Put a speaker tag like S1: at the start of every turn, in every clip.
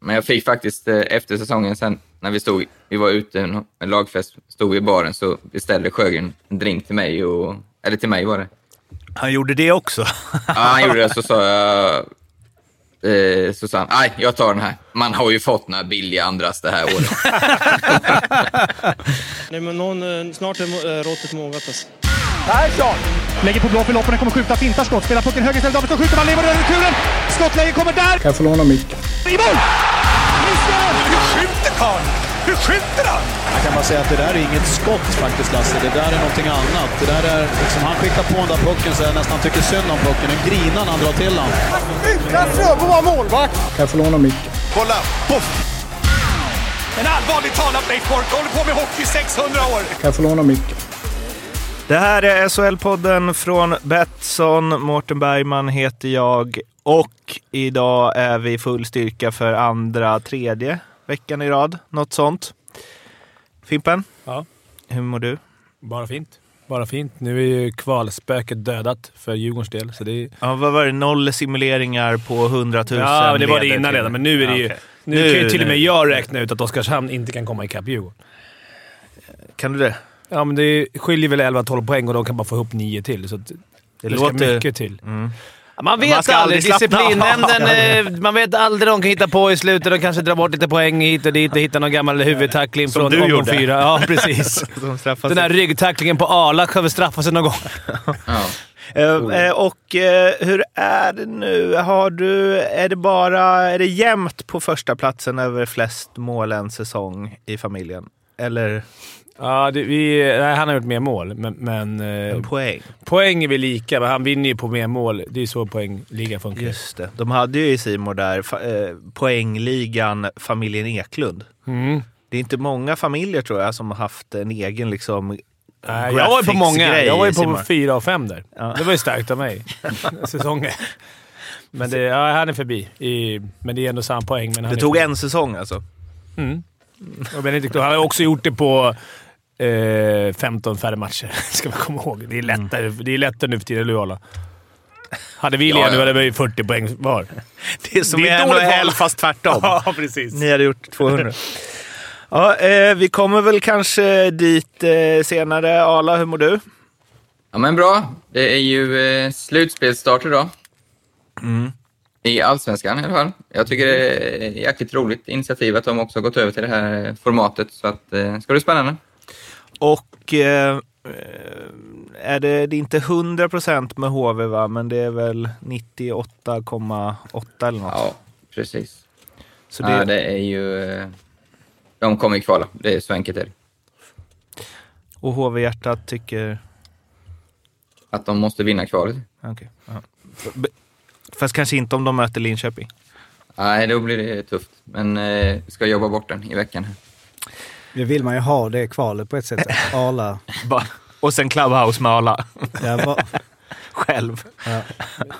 S1: Men jag fick faktiskt eh, efter säsongen sen när vi stod, vi var ute en, en lagfest, stod vi i baren så beställde Sjögren en drink till mig och, eller till mig var det.
S2: Han gjorde det också.
S1: Ja, han gjorde det så sa jag, eh, så sa han, nej jag tar den här. Man har ju fått några billiga andras det här året.
S3: Nej, men någon, eh, snart är må- eh, råttet mogat alltså.
S4: Persson! Lägger på blå för loppen, kommer skjuta, fintar skott, spelar pucken höger istället, Davidsson skjuter, man lever över returen! Skottläge kommer där!
S5: Kan jag få låna micken?
S4: I mål! Hur skjuter karln? Hur skjuter han?
S6: Jag kan bara säga att det där är inget skott faktiskt, Lasse. Det där är någonting annat. Det där är liksom, han skickar på den där pucken så jag nästan tycker synd om pucken. Den grinar när han drar till den.
S4: Utan Fröbo var målvakt!
S5: Kan jag få låna micken?
S7: Kolla! Poff!
S4: En allvarligt talat Blake Bork, håller på med hockey 600 år!
S5: Kan jag få låna micken?
S2: Det här är SHL-podden från Betsson. Mårten Bergman heter jag och idag är vi i full styrka för andra, tredje veckan i rad. Något sånt. Fimpen,
S8: Ja,
S2: hur mår du?
S8: bara fint. Bara fint. Nu är ju kvalspöket dödat för Djurgårdens del. Så det är...
S2: Ja, vad var det? Noll simuleringar på 100 000
S8: Ja, men det var det
S2: leder
S8: innan
S2: till-
S8: redan, men nu är det ju...
S2: Ja, okej.
S8: Nu, kan ju till och
S2: nu.
S8: med jag räkna ut att Oskarshamn inte kan komma ikapp Djurgården.
S2: Kan du det?
S8: Ja, men det skiljer väl 11-12 poäng och de kan bara få ihop nio till. Så att det, Mm. ska
S2: låter-
S8: mycket till.
S2: Man vet
S8: Man
S2: aldrig.
S8: ska aldrig slappna av.
S2: Disciplinnämnden, eh, man vet aldrig de kan hitta på i slutet. De kanske drar bort lite poäng hit och dit och hittar någon gammal huvudtackling
S8: Som
S2: från
S8: du
S2: omgång
S8: gjorde.
S2: fyra. Ja, precis. Den där ryggtacklingen på Arla kommer straffas någon gång.
S1: Ja.
S2: Mm. och eh, hur är det nu? Har du, är det bara är det jämnt på första platsen över flest mål en säsong i familjen? Eller
S8: Ja, det, vi, nej, han har gjort mer mål, men... men eh,
S2: en poäng?
S8: poäng är vi lika, men han vinner ju på mer mål. Det är så poängligan funkar.
S2: Just det. De hade ju i Simor där fa- eh, poängligan familjen Eklund.
S8: Mm.
S2: Det är inte många familjer tror jag som har haft en egen liksom...
S8: Nej, jag var ju på
S2: graphics-
S8: många.
S2: grej
S8: Jag var ju
S2: i
S8: på
S2: Simor.
S8: fyra av fem där.
S2: Ja.
S8: Det var ju starkt av mig. Säsongen. Men det, ja, han är förbi. I, men det är ändå samma poäng. Men han
S2: Det
S8: är
S2: tog
S8: förbi.
S2: en säsong alltså.
S8: Jag menar inte, han har också gjort det på eh, 15 färre matcher, ska man komma ihåg. Det är
S2: Mm.
S8: lättare, det är lättare nu för tiden, eller hur Arla? Hade vi
S1: Ja,
S8: Lea
S1: ja.
S8: nu hade vi 40 poäng var.
S2: Det är som
S8: Det
S2: i
S8: är dåligt
S2: NHL
S8: val.
S2: fast tvärtom.
S8: Ja, precis.
S2: Ni hade gjort 200. Ja, eh, vi kommer väl kanske dit eh, senare. Arla, hur mår du?
S1: ja, men bra. Det är ju eh, slutspelsstart idag. Mm. I Allsvenskan i alla fall. Jag tycker det är ett jäkligt roligt initiativ att de också har gått över till det här formatet. Så att, eh, ska det bli spännande.
S2: Och eh, eh, är det, det är inte 100% med HV va, men det är väl 98,8 eller något.
S1: Ja, precis.
S2: Så
S1: det... Ja, det är ju... eh, De kommer ju kvala. Det är så enkelt är det.
S2: Och HV-hjärtat tycker...
S1: Att de måste vinna kvalet.
S2: Okej. ja. B- Fast kanske inte om de möter Linköping.
S1: Nej, då blir det tufft. Men eh, vi ska jobba bort den i veckan. här.
S9: Nu vill man ju ha det kvalet på ett sätt. Arla.
S2: Ba- Och sen Clubhouse med alla.
S9: Ja, va,
S2: Själv.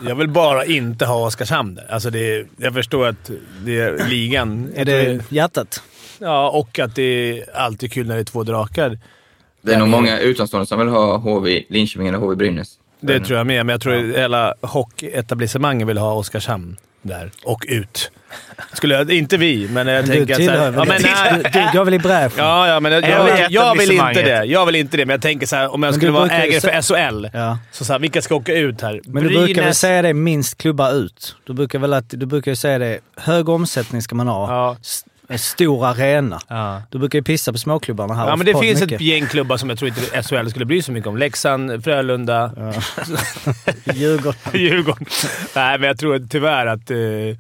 S8: Jag vill bara inte ha Oskarshamn där. Alltså det, jag förstår att det är ligan.
S9: är det hjärtat?
S8: Ja, och att det är alltid kul när det är två drakar.
S1: Det är nog många utomstående som vill ha HV Linköping eller HV Brynäs.
S8: Det
S9: Mm.
S8: tror jag med, men jag tror att hela hockeyetablissemanget vill ha Oskarshamn där och ut. Skulle jag, inte vi, men jag
S9: Du
S8: tänker att... så här-
S9: tillhör väl
S8: ja, men,
S9: det?
S8: nej,
S9: Du, du går väl i bräschen?
S8: ja, ja, men jag,
S2: Är vi
S8: jag, jag vill inte
S2: etablissemanget?
S8: det. Jag vill inte det, men jag tänker så här, om jag
S9: du
S8: skulle vara
S9: brukar ju
S8: ägare
S9: sä-
S8: för SHL,
S9: Ja.
S8: så, så här, vilka ska åka ut här?
S9: Men du brukar väl säga det minst klubbar ut? Du brukar väl att, du brukar ju säga det, hög omsättning ska man ha.
S8: Ja.
S9: S- en stor arena.
S2: Ja.
S9: Du brukar ju pissa på småklubbarna här.
S8: Ja,
S9: och
S8: men det
S9: få
S8: finns ett
S9: mycket.
S8: gäng klubbar som jag tror inte SHL skulle bry sig mycket om. Leksand, Frölunda,
S9: Djurgården.
S8: Djurgården. Nej, men jag tror tyvärr att... Eh, eller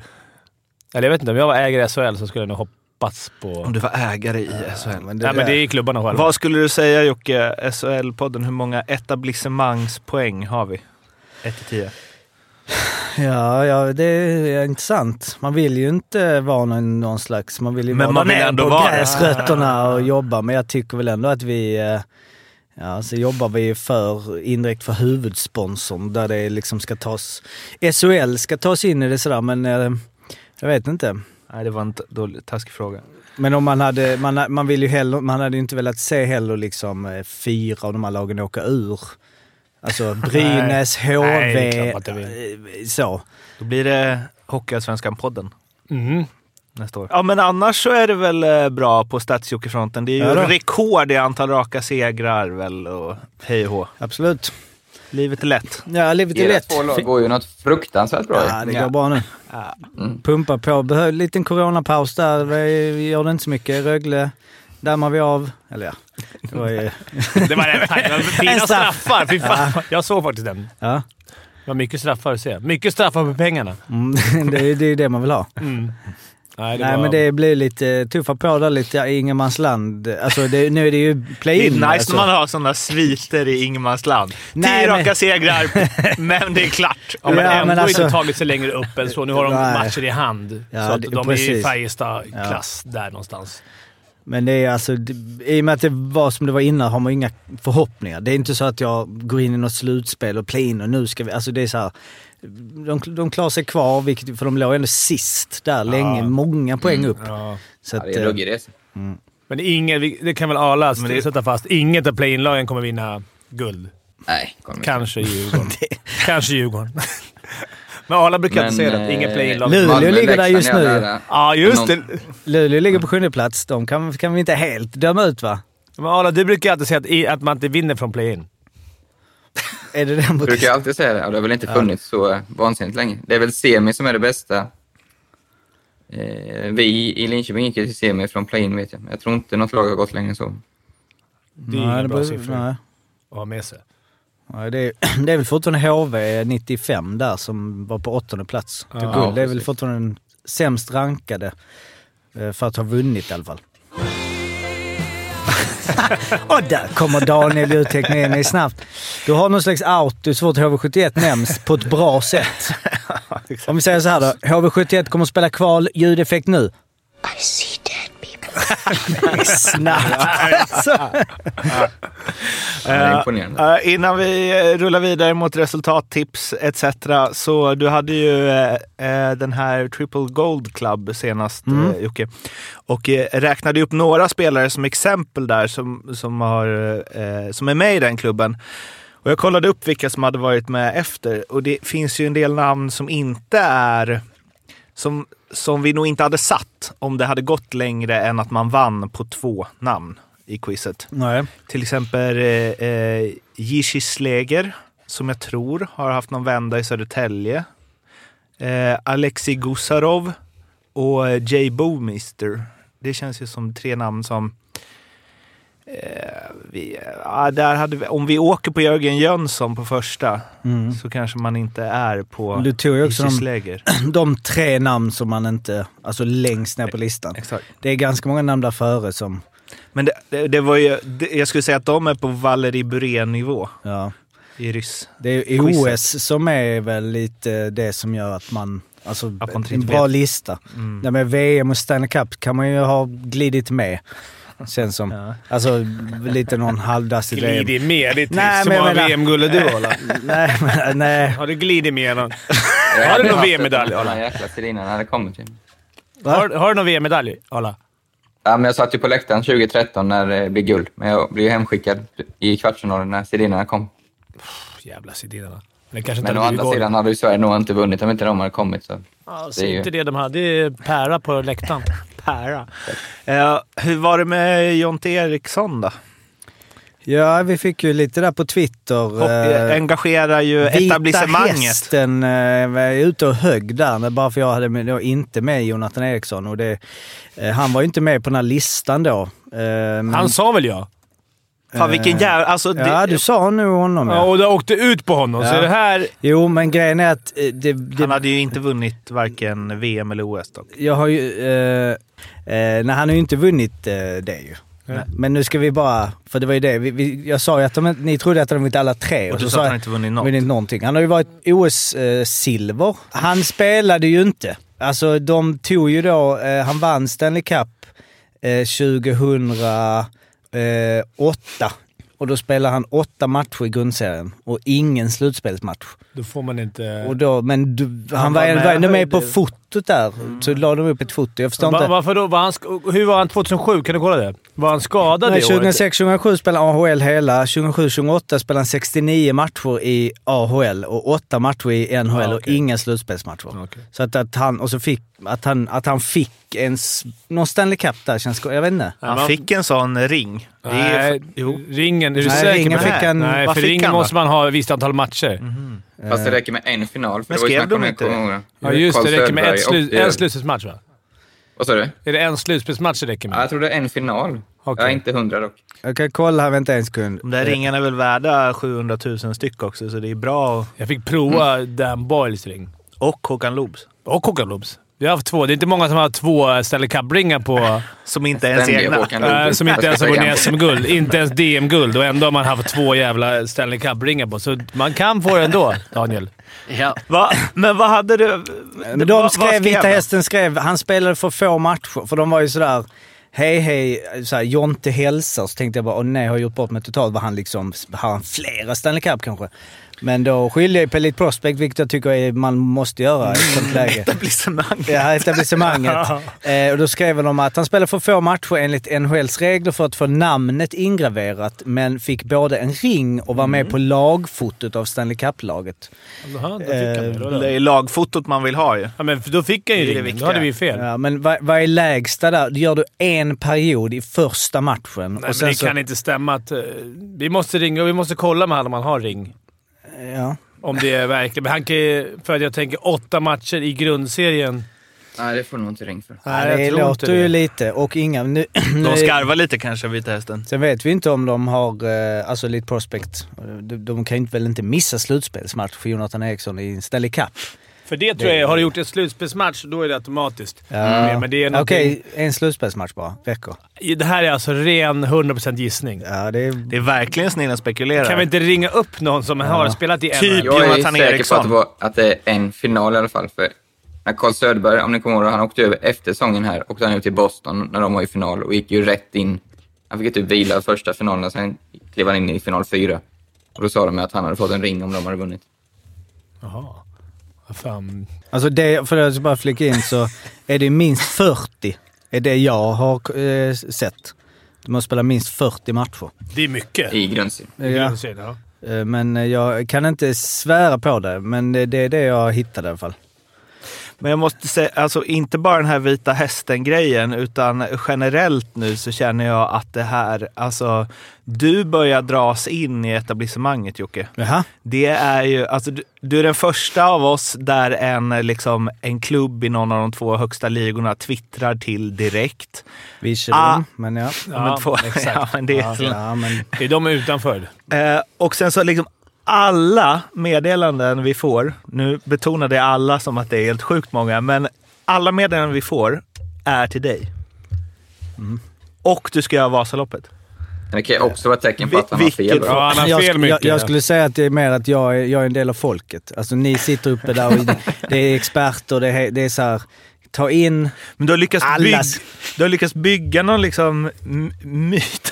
S8: jag vet inte, om jag var ägare i SHL så skulle jag nog hoppats på...
S2: Om du var ägare i SHL.
S9: Men det,
S8: Nej, men det är klubbarna själva.
S2: Vad skulle du säga Jocke, SHL-podden, hur många etablissemangspoäng har vi? 1-10.
S9: ja, ja, det är intressant. Man vill ju inte vara någon, någon slags... Man vill ju
S2: Men
S9: vara
S2: man
S9: där
S2: vill
S9: nere
S2: ändå
S9: på
S2: vara det.
S9: gräsrötterna och jobba. Men jag tycker väl ändå att vi... eh, Ja, så jobbar vi ju för, indirekt för huvudsponsorn där det liksom ska tas... SHL ska tas in i det sådär men... eh, Jag vet inte.
S2: Nej, det var en t- dålig, taskig fråga.
S9: Men om man hade, man, man vill ju heller, man hade ju inte velat se heller liksom eh, fyra av de här lagen åka ur. Alltså Brynäs,
S8: Nej, det är
S9: HV,
S8: klart man inte
S9: eh, så.
S2: Då blir det Hockeyallsvenskan-podden.
S8: Mm.
S9: nästa år.
S2: Ja, men annars så är det väl eh, bra på stats fronten Det är ju
S9: Ja då.
S2: rekord i antal raka segrar väl och hej och hå.
S9: Absolut.
S2: Livet är lätt.
S9: Ja, livet är
S1: Era
S9: lätt.
S1: två lag går ju något fruktansvärt bra
S9: Ja,
S1: i.
S9: det går bra nu.
S2: Mm.
S9: Pumpa på. Behöver en liten coronapaus där. Vi gör det inte så mycket. Rögle dammar vi av. Eller ja, det var ju...
S8: Det var rätt tajt. Det var Fina
S9: En straff.
S8: straffar! Fy fan. Jag såg faktiskt den.
S9: Ja.
S8: Det var mycket straffar att se. Mycket straffar för pengarna.
S9: Mm, det är ju det, är ju det man vill ha.
S8: Nej,
S9: Nej, men det blir lite tuffa på där. Lite ja, ingenmansland. Alltså, det, nu är det ju
S2: Det är
S9: play-in.
S2: nice
S9: alltså.
S2: när man har sådana sviter i ingenmansland.
S9: Nej,
S2: Tio
S9: men-
S2: raka segrar, men det är klart.
S8: Ja, men
S9: Ja,
S8: ändå
S9: men alltså-
S8: inte tagit sig längre upp än så. Nu har de
S9: Nej.
S8: matcher i hand.
S9: Ja,
S8: så att
S9: det-
S8: de är i
S9: precis.
S8: Färjestad-klass där någonstans.
S9: Men det är alltså, det- i och med att det var som det var innan har man ju inga förhoppningar. Det är inte så att jag går in i något slutspel och play in och nu ska vi... Alltså det är så här, de, de klarar sig kvar, vilket, för de låg ändå sist där länge. Många poäng upp. Så
S1: Mm, Ja,
S9: att,
S1: det är en
S9: eh,
S1: ruggig resa.
S8: Men ingen, vi- det kan väl alla det... sätta fast. Inget av play-in-lagen kommer vinna guld.
S1: Nej, kom igen.
S8: Kanske Djurgården. Kanske Djurgården. men alla brukar inte säga det. Inget
S1: eh,
S8: play-in-lag.
S9: Luleå
S1: Malmö,
S9: ligger där
S1: Leksand
S9: just
S1: är
S9: nu.
S1: där.
S8: Ja, just det.
S1: Någon-
S9: Luleå ligger på sjunde plats. De kan, kan vi inte helt döma ut va?
S8: Men Arla, du brukar alltid säga att, i- att man inte vinner från play-in.
S9: Är det den mot...
S1: Brukar jag alltid säga det. och Det har väl inte funnits så eh, vansinnigt länge. Det är väl semi som är det bästa. Eh, vi i Linköping gick ju till semi från play-in vet jag. Jag tror inte något lag har gått längre än så.
S8: Det är ingen bra
S9: beror-
S8: siffror
S9: nej.
S8: att ha med sig.
S9: Nej, det, är, det är väl fortfarande HV 95 där som var på åttonde plats. till
S8: Ja,
S9: guld. Det är väl fortfarande den sämst rankade eh, för att ha vunnit i alla fall. Och där kommer Daniel ljudtekniken i snabbt. Du har någon slags out, du svårt HV71 nämns på ett bra sätt. Om vi säger så här då. HV71 kommer att spela kval, ljudeffekt nu. I see dead people. Snabbt alltså.
S1: Det är imponerande.
S2: Eh, innan vi eh, rullar vidare mot resultattips etc. Så du hade ju eh, eh, den här Triple Gold Club senast eh, Jocke. Och eh, räknade upp några spelare som exempel där som, som, har, eh, som är med i den klubben. Och jag kollade upp vilka som hade varit med efter och det finns ju en del namn som inte är som, som vi nog inte hade satt om det hade gått längre än att man vann på två namn i quizet.
S9: Nej.
S2: Till exempel eh, eh, Jishi Sleger, som jag tror har haft någon vända i Södertälje. Eh, Alexi Gusarov och eh, Jay Boomister. Det känns ju som tre namn som... Eh, vi, ja, där hade vi, om vi åker på Jörgen Jönsson på första
S9: Mm.
S2: så kanske man inte är på
S9: Du tog ju också
S2: Jishi
S9: de-
S2: Sleger.
S9: de tre namn som man inte... Alltså längst ner på listan.
S2: Exakt.
S9: Det är ganska många namn där före som...
S2: Men det, det, det var ju, det, jag skulle säga att de är på Valerie Burén-nivå
S9: Ja,
S2: i ryss.
S9: det är
S2: Quizet.
S9: OS som är väl lite det som gör att man... Alltså
S2: Att man inte
S9: en bra
S2: vet.
S9: lista. Mm. Med VM och Stanley Cup kan man ju ha glidit med. Känns som. Alltså lite någon halvdassig VM.
S8: Glidit med? Det är
S9: Nej,
S8: trist. så
S9: men jag
S8: många
S9: menar-
S8: VM-guld du Arla.
S9: Nej, men, nej.
S8: Har du glidit med någon?
S1: Jag
S8: Har du
S1: hade
S8: någon
S1: haft
S8: VM-medalj,
S1: ett-
S8: Arla?
S1: Den här jäkla Selina hade kommit till.
S8: Har, har du någon VM-medalj, Arla?
S1: Ja, men jag satt ju på läktaren 2013 när det blev guld, men jag blev ju hemskickad i kvartsfinalen när Sedinarna kom.
S8: Jävla sidinarna. Den kanske inte
S1: Men å
S8: hade
S1: andra
S8: blivit guld.
S1: sidan hade ju Sverige nog inte vunnit om inte de hade kommit. Så.
S8: Alltså,
S1: det är ju-
S8: inte det de hade. Det är pära på läktaren.
S2: Pära. Eh, hur var det med Jonte Eriksson då?
S9: Ja, vi fick ju lite där på Twitter.
S2: Och,
S9: eh,
S2: eh, engagerar ju
S9: Vita
S2: etablissemanget.
S9: hästen eh, var ute och högg där, men bara för jag hade med- då inte med Jonathan Eriksson. Och det, eh, han var ju inte med på den här listan då. Eh, men,
S8: Han sa väl ja?
S2: Fan vilken jävla... Alltså, det,
S9: ja, du sa nu honom
S8: Ja,
S9: ja.
S8: och det åkte ut på honom. Så
S9: Ja.
S8: det här...
S9: Jo, men grejen är att eh, det, det,
S2: Han hade ju inte vunnit varken VM eller OS dock.
S9: jag har ju... Eh, eh, nej, han har ju inte vunnit eh, det ju. Men nu ska vi bara, för det var ju det, vi, vi, jag sa ju att de, ni trodde att han hade vunnit alla tre.
S2: Och
S9: så
S2: du sa att
S9: jag-
S2: han inte vunnit något.
S9: Vunnit någonting. Han har ju varit OS-silver. han spelade ju inte. Alltså de tog ju då, eh, han vann Stanley Cup eh, 2008. Och då spelade han åtta matcher i grundserien och ingen slutspelsmatch.
S8: Då får man inte...
S9: Och då, men du, han,
S8: Han
S9: var
S8: var
S9: ändå
S8: med Mm.
S9: ändå med
S8: höjd-
S9: på fotot fotot där så la de upp ett foto. Jag förstår
S8: Va,
S9: inte.
S8: varför då? Var han, sk- hur var han 2007? Kan du kolla det? Var han skadad
S9: Nej,
S8: det året?
S9: 2006-2007 spelade han AHL hela. 2007-2008 spelade han 69 matcher i AHL och 8 matcher i NHL
S8: Ja,
S9: och
S8: Ah, okej. Ah,
S9: inga slutspelsmatcher.
S8: Okej.
S9: Så att, att han, och så fick, att han, att han fick en, s- någon Stanley Cup där känns... Jag vet inte.
S2: Han fick en sån ring. Det är-
S8: Nej,
S2: jo.
S8: ringen. Är du
S9: Nej,
S8: säker
S9: ringen
S8: på det?
S9: fick han-
S8: Nej,
S2: Vad
S8: för
S2: fick
S8: ringen
S2: han då?
S8: måste man ha ett visst antal matcher.
S1: Mhm. Fast det
S8: Eh.
S1: räcker med en final. För
S2: Men
S1: det var ju
S2: skrev
S1: snack
S2: de
S1: om det,
S2: inte
S1: kommer
S2: det?
S1: jag ihåg
S8: Ja, just det. Det räcker med ett
S1: Karl
S8: slu-
S1: Söderberg och- eh,
S8: en slutspelsmatch, va?
S1: Vad sa du?
S8: Är det en slutspelsmatch det räcker
S1: Ja,
S8: med?
S1: jag tror det är en final.
S8: Okej.
S1: Jag är inte hundra dock.
S9: Jag kan kolla här, vänta en sekund.
S2: De där ringarna är väl värda 700 000 styck också, så det är bra. att-
S8: Jag fick prova Dan Boyles ring.
S2: Och Håkan Loobs.
S8: Och Håkan Lobs. Vi har haft två. Det är inte många som har två Stanley Cup-ringar på...
S2: Som inte är ens
S1: Ständiga
S2: egna.
S1: Håkan
S8: eh,
S1: Lundgren.
S8: som inte ens har vunnit SM-guld. Inte ens DM-guld. Och ändå har man haft två jävla Stanley Cup-ringar på. Så man kan få det ändå, Daniel.
S7: Ja.
S2: Va? Men vad hade du...
S9: Men
S2: vad-
S9: de
S2: vad
S9: skrev, Vita
S2: de?
S9: Hästen skrev, han spelade för få matcher, för de var ju sådär, hej hej, såhär, Jonte hälsar. Så tänkte jag bara, åh nej, har jag gjort bort mig totalt? Var han liksom, har han flera Stanley Cup kanske? Men då skyllde jag på Elite Prospect, vilket jag tycker är, man måste göra i ett
S2: Mm.
S9: sånt läge.
S2: Etablissemang.
S9: Ja, etablissemanget. eh, och då skrev de att han spelade för få matcher enligt NHLs regler för att få namnet ingraverat, men fick både en ring och var
S2: Mm.
S9: med på lagfotot av Stanley Cup-laget.
S8: Jaha, då fick han det. Då,
S2: Det
S8: då.
S2: är lagfotot man vill ha ju.
S8: Ja, men då fick han ju
S2: Det är det
S8: ringen. Då
S2: viktiga.
S8: hade vi fel.
S9: Ja, men vad, vad är lägsta där? Då Gör du en period i första matchen?
S8: Nej, men det kan inte stämma att... eh, vi måste ringa och vi måste kolla med honom om han har ring.
S9: Ja.
S8: Om det är verkligen... Men han kan ju- För att jag tänker åtta matcher i grundserien.
S1: Nej, det får nog inte ring för.
S8: jag
S9: det
S8: tror inte
S9: låter ju lite. Och inga... Nu,
S2: De
S9: nu,
S2: skarvar lite kanske, Vita Hästen.
S9: sen vet vi inte om de har... eh, Alltså Elite Prospect. De, de kan ju inte- väl inte missa slutspelsmatch för Jonathan Eriksson i en Stanley Cup.
S8: För det tror jag är- Har du gjort en slutspelsmatch, då är det automatiskt. Mm. Men- Men det är någonting...
S9: Okej, en slutspelsmatch bara. Räcker.
S8: Det här är alltså ren 100% gissning.
S9: Ja, det är...
S2: Det är verkligen snillen spekulerar.
S8: Kan vi inte ringa upp någon som har spelat i
S2: Typ.
S8: NHL?
S1: Jag är
S2: Jonathan
S1: säker
S2: Eriksson.
S1: på att det, var, att det är en final i alla fall. För när Carl Söderberg, om ni kommer ihåg, han åkte över efter säsongen här. Åkte han ut till Boston när de var i final och gick ju rätt in. Han fick ju typ vila första finalen, sen klev han in i final fyra. Och då sa de att han hade fått en ring om de hade vunnit.
S8: Jaha. Vad Fan.
S9: Alltså det, för att bara flika in så är det minst 40. Är det jag har eh, sett. Du måste spela minst 40 matcher.
S8: Det är mycket.
S1: I grundserien.
S9: Ja.
S8: Ja.
S9: Eh, Men eh, jag kan inte svära på det, men det det är det jag hittade i alla fall.
S2: Men jag måste säga, alltså inte bara den här Vita Hästen-grejen, utan generellt nu så känner jag att det här, alltså du börjar dras in i etablissemanget Jocke.
S9: Jaha.
S2: Det är ju, alltså du, du är den första av oss där en, eh, liksom, en klubb i någon av de två högsta ligorna twittrar till direkt.
S9: Virserum,
S2: Ah.
S9: men ja.
S2: Ja, men två,
S8: exakt.
S2: ja, men det är,
S9: ja men,
S8: Det är de utanför.
S2: Eh, och sen så liksom alla meddelanden vi får, nu betonade jag alla som att det är helt sjukt många, men alla meddelanden vi får är till dig. Mm. Och du ska göra Vasaloppet.
S1: Men det kan ju också vara ett tecken på
S2: Vi-
S1: att han har fel.
S2: vilket-
S1: då.
S8: Ja, han har
S9: jag,
S8: fel
S9: sk- jag,
S8: mycket.
S9: jag skulle säga att det är mer att jag är, jag är en del av folket. Alltså ni sitter uppe där och det är experter, det är, det är så här, ta in
S2: Men du har lyckats, bygg,
S9: Allas.
S2: du har lyckats bygga någon liksom m- myt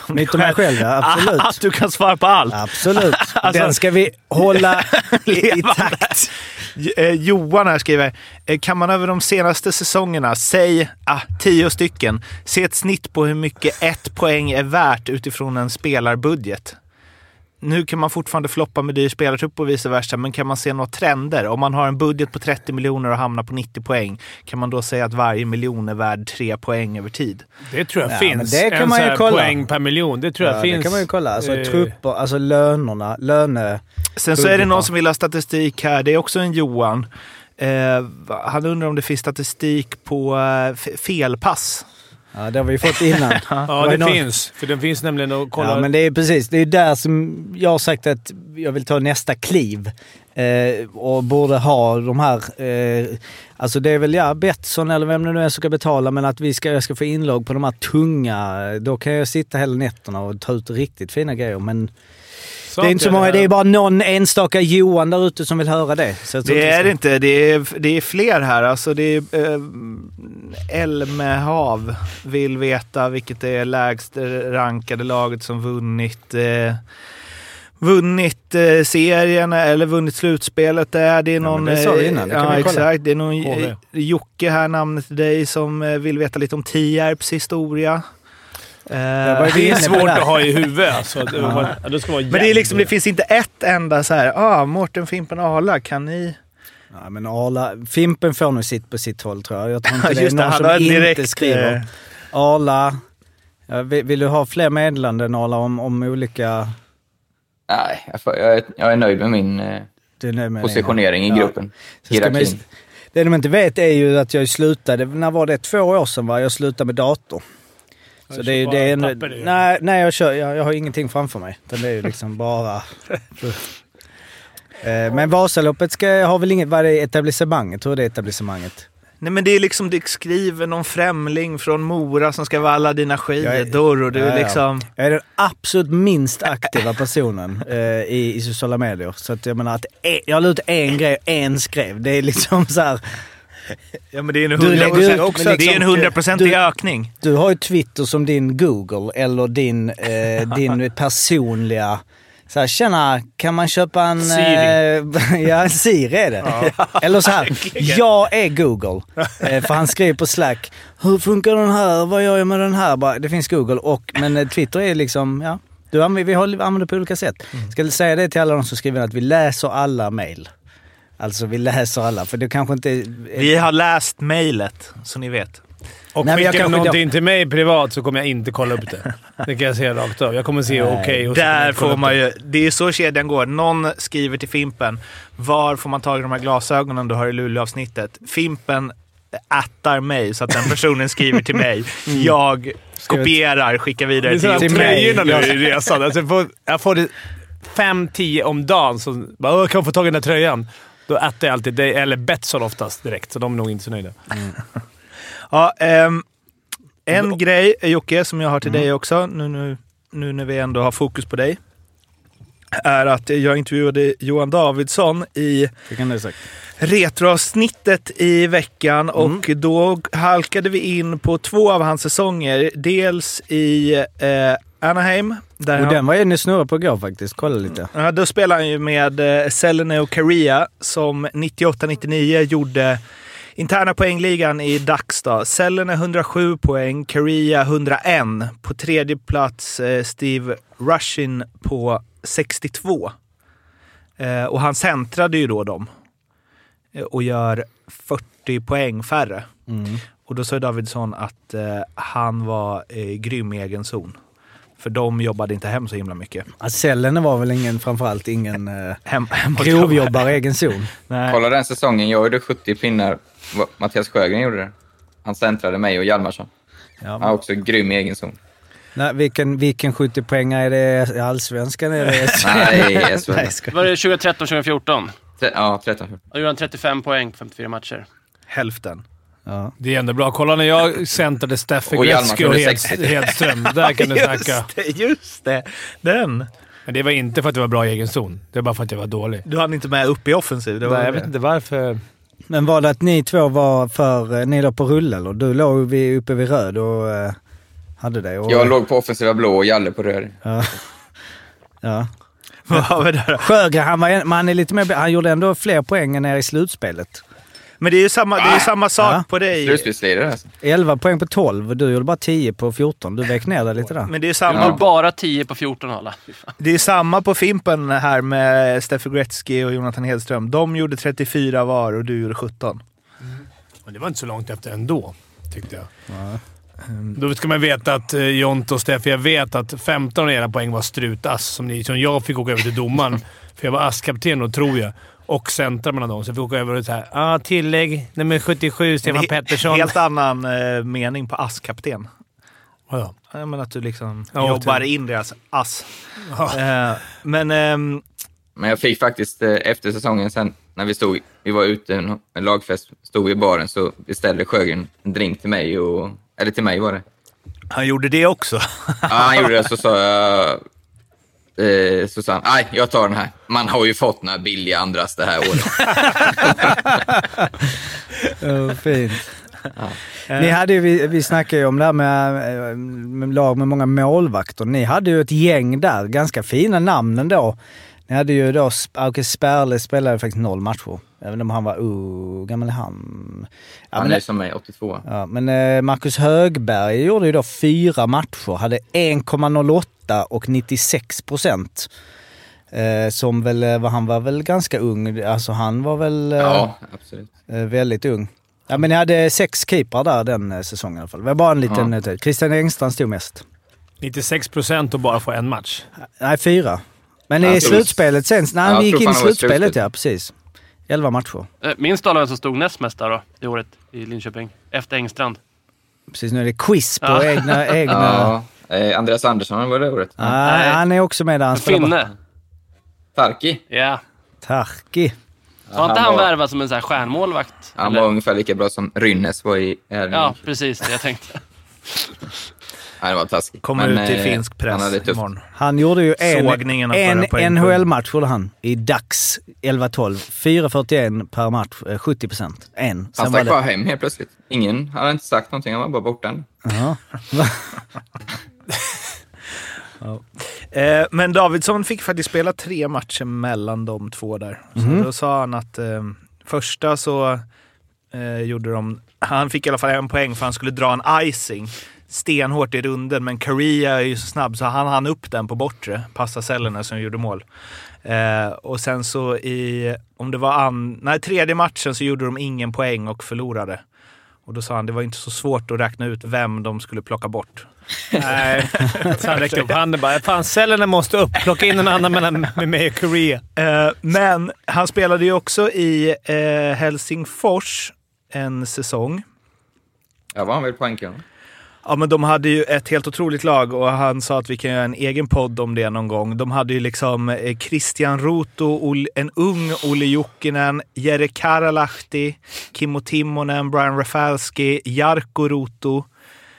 S2: om
S9: Myt om mig själv, ja, absolut.
S2: Att du kan svara på allt.
S9: Absolut.
S2: Alltså-
S9: Den ska vi hålla i, i
S2: Levande.
S9: takt.
S2: J- eh, Johan här skriver, eh, kan man över de senaste säsongerna, säg ah, tio stycken, se ett snitt på hur mycket ett poäng är värt utifrån en spelarbudget? Nu kan man fortfarande floppa med dyr spelartrupp och vice versa, men kan man se några trender? Om man har en budget på 30 miljoner och hamnar på 90 poäng, kan man då säga att varje miljon är värd tre poäng över tid?
S8: Det tror jag
S9: Ja,
S8: finns.
S9: men det kan
S8: en
S9: man
S8: så
S9: ju
S8: här
S9: kolla.
S8: poäng per miljon. Det tror jag
S9: Ja,
S8: finns.
S9: det kan man ju kolla. Alltså
S8: Eh,
S9: trupper, alltså lönerna, löne...
S2: Sen så är det
S9: Budgetar.
S2: någon som vill ha statistik här. Det är också en Johan. Eh, han undrar om det finns statistik på eh, f- felpass.
S9: Ja, det har vi fått innan.
S8: Ja,
S9: var
S8: det
S9: någon-
S8: finns. För den finns nämligen att kolla.
S9: Ja, men det är precis. Det är där som jag har sagt att jag vill ta nästa kliv. Eh, och borde ha de här... Eh, alltså det är väl ja, Betsson eller vem det nu är som ska betala, men att vi ska, jag ska få inlogg på de här tunga. eh, Då kan jag sitta hela nätterna och ta ut riktigt fina grejer. Men det är inte så många. Det är bara någon enstaka Johan där ute som vill höra det. Så jag tror
S2: Det
S9: vi
S2: är
S9: ska-
S2: det inte. Det är, det är fler här. Alltså det är, eh, Elmehav vill veta vilket är lägst rankade laget som vunnit. Eh, vunnit eh, serien eller vunnit slutspelet. Det är, det är någon...
S9: det sa vi
S2: eh,
S9: innan, det kan
S2: ja,
S9: vi kolla.
S2: exakt. Det är någon
S8: HV.
S2: eh, Jocke här, namnet till dig, som eh, vill veta lite om Tierps historia. Eh,
S9: var ju
S8: Det är
S9: inne på
S8: svårt
S9: där.
S8: att ha i huvudet alltså. Det, var, ja, det ska vara
S2: men det, är liksom, det finns inte ett enda så här, ah, Mårten, Fimpen, Arla, kan ni...
S9: Nej, men Arla, Fimpen får nog sitt på sitt håll tror jag. Jag tror inte det är
S2: Just det,
S9: någon
S2: han
S9: som
S2: har
S9: inte
S2: direkt,
S9: skriver.
S2: eh,
S9: Arla, ja, vill, vill du ha fler meddelanden Arla om, om olika...
S1: Nej, jag, får, jag, är, jag är nöjd med min eh,
S9: Du är nöjd med det?
S1: positionering i
S9: Ja.
S1: gruppen.
S9: Så ska man ju,
S1: Hierarkin.
S9: det de inte vet är ju att jag slutade, när var det? Två år sedan va? Jag slutade med dator. Så
S8: Du
S9: det är ju
S8: kör
S9: det är
S8: bara
S9: en,
S8: papper, du.
S9: nej, nej jag, kör, jag, jag har ingenting framför mig. Utan det är ju liksom bara... Eh, Men Vasaloppet ska, har väl inget... Vad är det? Etablissemanget? Hur är det etablissemanget?
S2: Nej, men det är liksom, det skriver någon främling från Mora som ska valla dina skidor och du
S9: Ja, ja.
S2: liksom...
S9: Jag är den absolut minst aktiva personen eh, i, i sociala medier. Så att jag menar att en, jag la ut en grej och en skrev. Det är liksom så här.
S2: Ja, men det är en
S9: Du lägger ut,
S2: 100%
S9: men
S2: också, det är en
S9: liksom-
S2: 100%
S9: du-
S2: ökning.
S9: Du har ju Twitter som din Google eller din, eh, din personliga... Så här, tjena, kan man köpa en... Eh, ja, en Siri är det. Eller så här, jag är Google. Eh, för han skriver på Slack, hur funkar den här? Vad gör jag med den här? Bara, det finns Google och... Men eh, Twitter är liksom, ja. Du, anv- vi har- använder på olika sätt. Ska jag säga det till alla de som skriver att vi läser alla mejl. Alltså vi läser alla, för det kanske inte... eh, är-
S2: Vi har läst mejlet, så ni vet.
S8: Och
S9: Nej, men jag
S8: skickar du
S9: kanske-
S8: någonting till mig privat så kommer jag inte kolla upp det. Det kan jag säga rakt av. Jag kommer se okej och så kommer jag
S2: Där
S8: inte kolla
S2: får
S8: upp
S2: man
S8: det.
S2: ju... Det är så kedjan går. Någon skriver till Fimpen. Var får man tag i de här glasögonen du har i Luleå-avsnittet? Fimpen attar mig så att den personen skriver till mig.
S9: Mm.
S2: Jag kopierar, skickar vidare
S8: Det är
S2: till
S8: sådär
S9: till mig.
S8: tröjorna nu i resan. Alltså jag får, jag får det fem, tio om dagen som bara “Åh, kan jag få tag i den där tröjan?” Då äter jag alltid dig, eller Betsson oftast direkt, så de är nog inte så nöjda.
S2: Ja, ehm, en grej, Jocke, som jag har till
S9: Mm.
S2: dig också, nu, nu, nu när vi ändå har fokus på dig, är att jag intervjuade Johan Davidsson i
S9: Det kan du säga.
S2: retroavsnittet i
S9: Mm.
S2: veckan och då halkade vi in på två av hans säsonger. Dels i eh, Anaheim, där
S9: Och
S2: han,
S9: den var jag inne och snurrade på igår faktiskt. Kolla lite.
S2: Ja, då spelade han ju med eh, Seleneo Caria som 98-99 gjorde interna poängligan i DAX. Då. Selene 107 poäng, Caria 101. På tredje plats eh, Steve Rushin på 62. Eh, och han centrade ju då dem eh, och gör 40 poäng färre. Och då sa ju Davidsson att eh, han var eh, grym i egen zon. För de jobbade inte hem så himla mycket.
S9: Ja, Cellen var väl ingen, framförallt ingen eh,
S2: Hem, hem och
S9: grovjobbare i egen zon.
S2: Nej.
S1: Kolla den säsongen, jag gjorde 70 pinnar. Vad Mattias Sjögren gjorde det. Han centrade mig och Hjalmarsson.
S9: Ja,
S1: Han är också grym i egen zon.
S9: Nej, vilken, vilken 70 poäng är det i allsvenskan? Är det
S1: Nej, jag
S9: Nej,
S1: skojar.
S9: jag skojar.
S7: Var det 2013, 2014?
S1: Tre- Ja, 13.
S7: Då gjorde han 35 poäng, 54 matcher.
S2: Hälften.
S9: ja.
S8: Det är ändå bra. Kolla när jag centrade Steffe
S1: Och Hjalmar
S8: Gretzky och
S1: kunde
S8: Hed- Hedström. Där kan du snacka.
S2: Just det, just det. Den.
S8: Men det var inte för att jag var bra i egen zon. Det var bara för att jag var dålig.
S2: Du hann inte med upp i offensiv. Det var
S8: Nej, jag
S2: det.
S8: vet inte varför.
S9: Men var det att ni två var för... eh, Ni låg på rulle eller? Du låg vid, uppe vid röd och eh, hade det. Och,
S1: Jag låg på offensiva blå och Jalle på röd.
S9: Ja. Ja.
S2: Vad har vi där då?
S9: Sjögren, han, var, en- men han, är lite mer, han gjorde ändå fler poäng än er i slutspelet.
S2: Men det är ju samma,
S8: Ah,
S2: det är ju samma sak
S9: Ja.
S2: på dig.
S1: Slutspelslirare alltså.
S9: 11 poäng på 12 och du gjorde bara 10 på 14. Du vek ner dig lite där.
S2: Men det är, ju
S7: Han
S2: samma,
S7: gjorde bara 10 på 14 alla. Fy fan.
S2: det är samma på Fimpen här med Steffe Gretzky och Jonathan Hedström. De gjorde 34 var och du gjorde 17.
S8: Men det var inte så långt efter ändå, tyckte jag.
S2: Ehm.
S8: Då ska man veta att eh, Jonte och Steffi, jag vet att 15 av era poäng var strutass som, ni, som jag fick åka över till domaren. för jag var askkapten då, tror jag. Och centra mellan dem, så jag fick åka över och såhär ah, “Tillägg nummer 77, Stefan
S2: He-
S8: Pettersson”.
S2: Helt annan eh, mening på askkapten.
S8: Vadå?
S2: Ja, men att du liksom
S8: Ja,
S2: jobbar
S8: typ.
S2: in deras ass.
S8: Ja.
S2: Eh, men ehm,
S1: Men jag fick faktiskt eh, efter säsongen sen när vi stod, vi var ute en en lagfest, stod vi i baren så beställde Sjögren en drink till mig och, eller till mig var det.
S2: han gjorde det också.
S1: Ja, han gjorde det så sa jag, eh, Susanne, nej jag tar den här. Man har ju fått några billiga andras det här året.
S9: Oh, fint. Ni hade ju, vi, vi snackade ju om det här med, eh, med lag med många målvakter. Ni hade ju ett gäng där, ganska fina namn ändå. Ni hade ju då, Sp- Auke Sperle spelade faktiskt noll matcher. Även om han var, oh, hur gammal är han? Ja,
S1: Han
S9: men,
S1: är som mig, 82.
S9: ja, men eh, Marcus Högberg gjorde ju då fyra matcher, hade 1,08 och 96 procent. Eh, som väl, eh, var- han var väl ganska ung, alltså han var väl... eh,
S1: Ja, absolut.
S9: Eh, väldigt ung. Ja, men ni hade sex keeprar där den eh, säsongen i alla fall. Det var bara en liten... eh, Christian Engstrand stod mest.
S8: 96 procent och bara få en match.
S9: Nej, fyra. Men
S1: Ja,
S9: i
S1: jag tror-
S9: slutspelet sen...
S1: Ja,
S9: Nej,
S1: jag
S9: han gick
S1: tror
S9: in
S1: fan
S9: i
S1: det var i
S9: slutspelet,
S1: slutspelet.
S9: ja. Precis. Elva matcher.
S7: Eh, Minns du alla vem som stod näst mest där då, det året i Linköping? Efter Engstrand.
S9: Precis, nu är det quiz på
S7: Ja.
S9: egna... egna...
S1: Ja, eh, Andreas Andersson var det ordet.
S9: Nej,
S7: Nej.
S9: han är också med där. Han spelar bara-
S7: Finne.
S1: Tarki.
S7: Ja.
S9: Tarki.
S7: Har inte han
S1: var-
S7: värvat som en sån här stjärnmålvakt?
S1: Han
S7: Eller?
S1: var ungefär lika bra som Rynnes var i Erling.
S7: Ja, precis det jag tänkte.
S1: Nej, det var taskigt.
S2: Kommer
S1: Men,
S2: ut i
S1: eh,
S2: finsk
S1: han hade
S2: press
S1: tufft.
S2: imorgon.
S9: Han gjorde ju
S2: Sågningen av
S9: en, en
S2: förra poängskörden.
S9: NHL-match gjorde han i dags 11-12. 4.41 per match, eh, 70 procent. En.
S1: Han
S9: var
S1: stack
S9: det-
S1: bara hem helt plötsligt. Ingen han hade inte sagt någonting, han var bara borta.
S9: Ja.
S2: Eh, men Davidsson fick faktiskt spela tre matcher mellan de två där. Så då sa han att eh, första så eh, gjorde de... Han fick i alla fall en poäng för han skulle dra en icing stenhårt i runden men Korea är ju så snabb så han hann upp den på bortre, passa cellerna som gjorde mål. Eh, och sen så i, om det var an, nej, tredje matchen så gjorde de ingen poäng och förlorade. Och då sa han det var inte så svårt att räkna ut vem de skulle plocka bort.
S8: Nej, så han räckte upp handen bara. Fan, cellerna måste upp. Plocka in en annan mellan med mig och Korea.
S2: Eh, men han spelade ju också i eh, Helsingfors en säsong.
S1: Ja, var han väl poängkung?
S2: Ja, men de hade ju ett helt otroligt lag och han sa att vi kan göra en egen podd om det någon gång. De hade ju liksom eh, Christian Ruto, Ol- en ung Olle Jokinen, Jere Karalahti, Kimmo Timonen, Brian Rafalski, Jarkko Ruto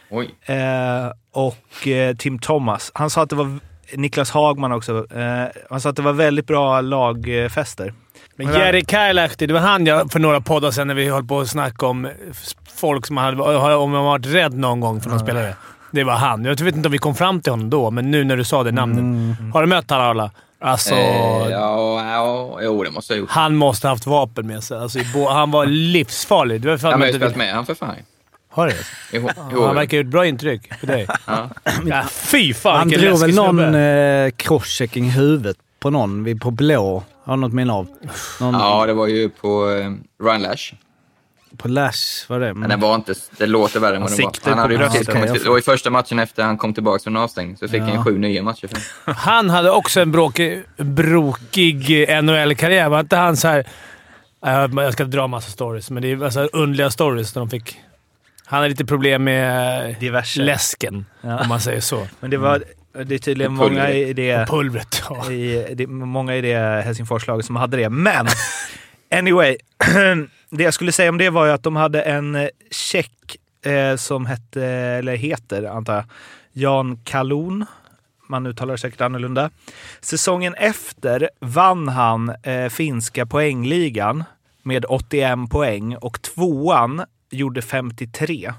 S1: Oj.
S2: eh, och eh, Tim Thomas. Han sa att det var Niklas Hagman också. Eh, han sa att det var väldigt bra lagfester.
S8: Men Jerry Kailahti, det var han jag för några poddar sedan när vi höll på att snacka om eh, f- folk som hade, om man varit rädd någon gång för någon spelare. Det var han. Jag vet inte om vi kom fram till honom då, men nu när du sa det namnet.
S9: Mm.
S8: Har du mött Harala? Alltså,
S1: Eh, ja, ja, jo, det måste jag ha gjort.
S8: han måste ha haft vapen med sig. Alltså, i bo- han var livsfarlig. Det var för
S1: Han
S8: att
S1: har
S8: man
S1: ju
S8: inte
S1: spelat
S8: vill...
S1: med han för fan.
S8: Har du?
S1: Jo,
S8: Han
S1: jo.
S8: verkar ha gjort bra intryck för dig.
S1: Ja.
S8: Ja, fy fan
S9: Han
S8: vilken
S9: drog väl
S8: läskig
S9: någon
S8: snubbe.
S9: eh, crosschecking i huvudet på någon vid- på blå. Har något minne av. Någon
S1: ja, det var ju på eh, Ryan Lash.
S9: på Lash var det.
S1: Men
S9: Men,
S1: den var inte, det låter värre än vad
S2: Han
S1: den var.
S2: siktade
S1: Han
S2: på
S1: hade ju
S2: bröstet.
S1: precis kommit till, det var ju första matchen efter han kom tillbaka från avstängning, så fick han ju sju nya matcher. För.
S8: Han hade också en bråkig, brokig NHL-karriär. Var inte han så här... Eh, Jag ska dra massa stories, men det är alltså underliga stories när de fick... Han hade lite problem med eh,
S2: Diverse.
S8: läsken, om man säger så.
S2: Men det var det är tydligen
S1: Och pulver.
S2: många i det,
S8: Pulvret. Ja.
S2: i, det, många i det Helsingforslaget som hade det. Men anyway, det jag skulle säga om det var ju att de hade en tjeck eh, som hette, eller heter antar jag, Jan Kalon. Man uttalar det säkert annorlunda. Säsongen efter vann han eh, finska poängligan med 81 poäng och tvåan gjorde 53.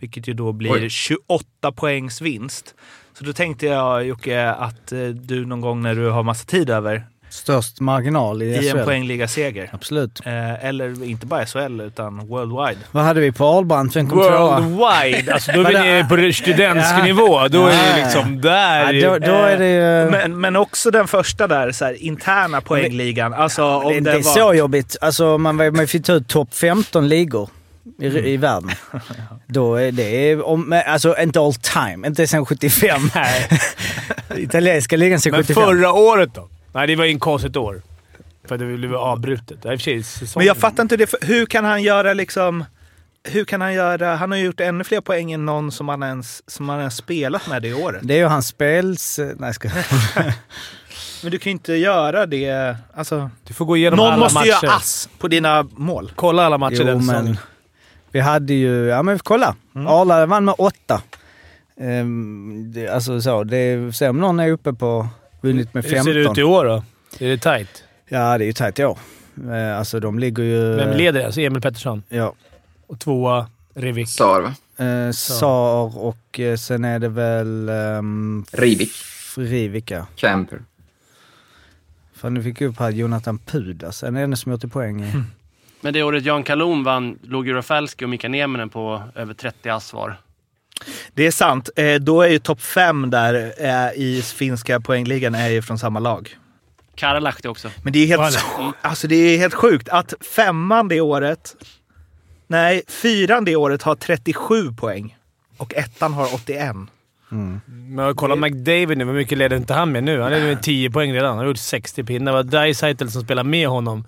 S2: Vilket ju då blir
S1: Oj.
S2: 28 poängs vinst. Så då tänkte jag Jocke att eh, du någon gång när du har massa tid över
S9: störst marginal i,
S2: i en
S9: SHL.
S2: poängligaseger.
S9: Absolut.
S2: Eh, eller inte bara SHL utan worldwide.
S9: Vad hade vi på Ahlbrand? Vem kom tvåa?
S8: Worldwide! Alltså, då är vi nere på studentnivå. Då är det liksom... Där...
S9: Ja, då, då är det ju...
S2: Men, men också den första där, så här, interna poängligan. Alltså om
S9: det,
S2: det,
S9: det är
S2: var...
S9: så jobbigt. Alltså man, var- man fick ta ut topp 15 ligor i,
S8: Mm.
S9: i världen. Då är det... Om, men alltså inte all time. Inte sen 75. Italienska ligan sen
S8: Men
S9: 75.
S8: förra året då? Nej, det var ju ett konstigt år. För det blev avbrutet. Ja, i och för sig, säsongen-
S2: Men jag fattar inte hur det. för Hur kan han göra liksom... Hur kan han göra... Han har ju gjort ännu fler poäng än någon som han ens, som han ens spelat med det året.
S9: Det är ju hans spels... Nej, jag ska...
S2: Men du kan ju inte göra det... Alltså,
S8: Du får gå igenom
S2: någon
S8: alla
S2: måste
S8: matcher.
S2: göra ass på dina mål.
S8: Kolla alla matcher
S9: Jo,
S8: den
S9: men
S8: säsongen.
S9: vi hade ju... Ja, men kolla.
S8: Mm.
S9: Arla vann med åtta. Ehm, det, alltså så. Det, se om någon är uppe på... Vunnit med
S8: Hur ser
S9: 15.
S8: det ut i år då? Är det tight?
S9: Ja, det är ju tajt i år. Eh, Alltså de ligger ju...
S8: Vem leder? Alltså Emil Pettersson.
S9: Ja.
S8: Och tvåa Rivik.
S1: Sar, va?
S9: Eh, Sar och eh, sen är det väl... ehm,
S1: Rivik.
S9: Rivik, ja.
S1: Camper.
S9: Fan, nu fick jag upp här Jonathan Pudas. Är det enda som gjort det poäng
S8: Mm, typ.
S9: i?
S7: Men det året Jan Kalon vann låg ju Rafalski och Mika Nieminen på över 30 ass var.
S2: Det är sant. Eh, då är ju topp fem där eh, i finska poängligan är ju från samma lag.
S7: Karalahti också.
S2: Men det är helt, alltså det är helt sjukt att femman det året... Nej, fyran det året har 37 poäng och ettan har 81.
S8: Men kolla McDavid nu. Hur mycket leder inte han med nu? Han leder med 10 poäng redan. Han har gjort 60 pinnar. Det var Dreisaitl som spelade med honom.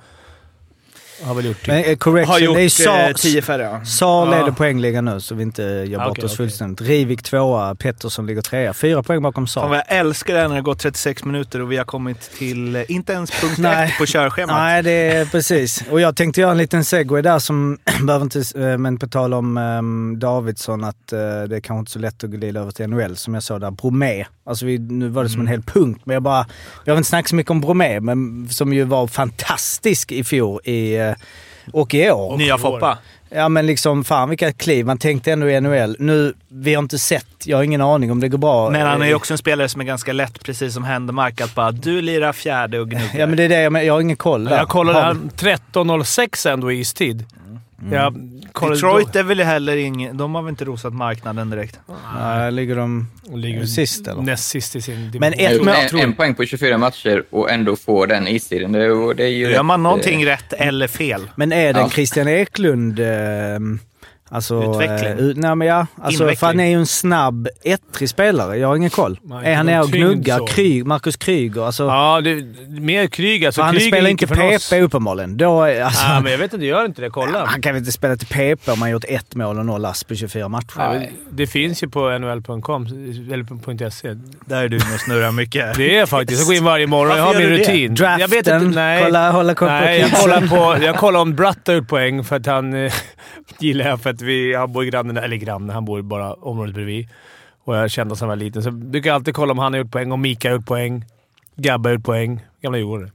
S8: Har väl gjort
S9: Men,
S8: typ.
S9: eh, correction,
S2: Har gjort
S9: det är
S2: eh,
S9: Sar,
S2: 10 färre. ja.
S9: Sar
S8: Ja.
S9: leder poängligan nu så vi inte gör
S8: Ja,
S9: bort
S8: okej,
S9: oss
S8: okej.
S9: fullständigt. Rivik tvåa, Pettersson ligger trea. Fyra poäng bakom
S2: Fan,
S9: Sar.
S2: vad jag älskar det här när det har gått 36 minuter och vi har kommit till, eh, inte ens punkt
S9: Nej.
S2: ett på körschemat.
S9: Nej, det är precis. Och jag tänkte göra en liten segway där som behöver inte... eh, Men på tal om ehm, Davidsson, att eh, det är kanske inte så lätt att glida över till NHL som jag sa där. Bromé. Alltså vi, nu var det
S2: Mm.
S9: som en hel punkt, men jag bara... Vi har inte snackat så mycket om Bromé, men som ju var fantastisk i fjol i, eh, och i år.
S2: Nya Foppa.
S9: Ja men liksom fan vilka kliv. Man tänkte ändå i NHL. Nu, vi har inte sett. Jag har ingen aning om det går bra.
S2: Men han är ju
S9: Eh,
S2: också en spelare som är ganska lätt, precis som Händemark, att bara du lirar fjärde och gnuggar.
S9: Ja men det är det jag menar. Jag har ingen koll där.
S8: Jag kollade
S9: Har vi-
S8: han 13.06 ändå i istid.
S9: Mm.
S8: Jag kollade
S2: Detroit är väl heller ingen... De har väl inte rosat marknaden direkt?
S9: Nej, ligger de
S8: då-
S2: Mm.
S8: ligger
S9: sist eller?
S8: näst sist i sin division.
S9: Men
S1: Jag har
S9: ett
S1: gjort
S9: mål,
S1: en, en poäng på 24 matcher och ändå få den istiden. Det, och det är ju
S2: Gör man
S1: rätt,
S2: någonting
S1: eh,
S2: rätt eller fel?
S9: Men är den
S1: Ja.
S9: Christian Eklund... Eh, alltså,
S2: Utveckling.
S9: eh, ut- nej men ja. Alltså,
S2: Inveckling.
S9: för han är ju en snabb, ettrig spelare. Jag har ingen koll.
S8: Nej,
S9: är han
S8: det var
S9: nere och
S8: tyngd
S9: gnuggar?
S8: så.
S9: Kry, Marcus Kryger? Alltså,
S8: Ja, det, mer Kryger. Alltså,
S9: för han
S8: Kryger
S9: spelar
S8: gick
S9: inte
S8: ju från
S9: PP
S8: oss.
S9: uppenbarligen. Då, är- alltså,
S8: Ja, men jag vet inte. Gör inte det. Kolla.
S9: han kan väl inte spela till PP om han gjort ett mål och noll ass på 24 matcher?
S8: Nej, Det finns ju på nhl.com, eller .se.
S2: Där är du inne och snurrar mycket.
S8: E. Det är jag faktiskt. Jag går in varje morgon. Jag har
S2: Varför
S8: min
S2: gör du det?
S8: rutin.
S9: Draften.
S8: jag vet inte. Nej.
S9: Kolla, hålla koll på
S8: Nej, jag
S9: kidsen.
S8: kollar, på, jag kollar om Bratt har gjort poäng för att han eh, gillar jag för att vi, han bor i grannen, eller grannen, han bor bara området bredvid. Och jag kände honom när jag var liten. Så jag brukar alltid kolla om han har gjort poäng, om Mika har gjort poäng, Gabbe har gjort poäng, gamla Djurgården.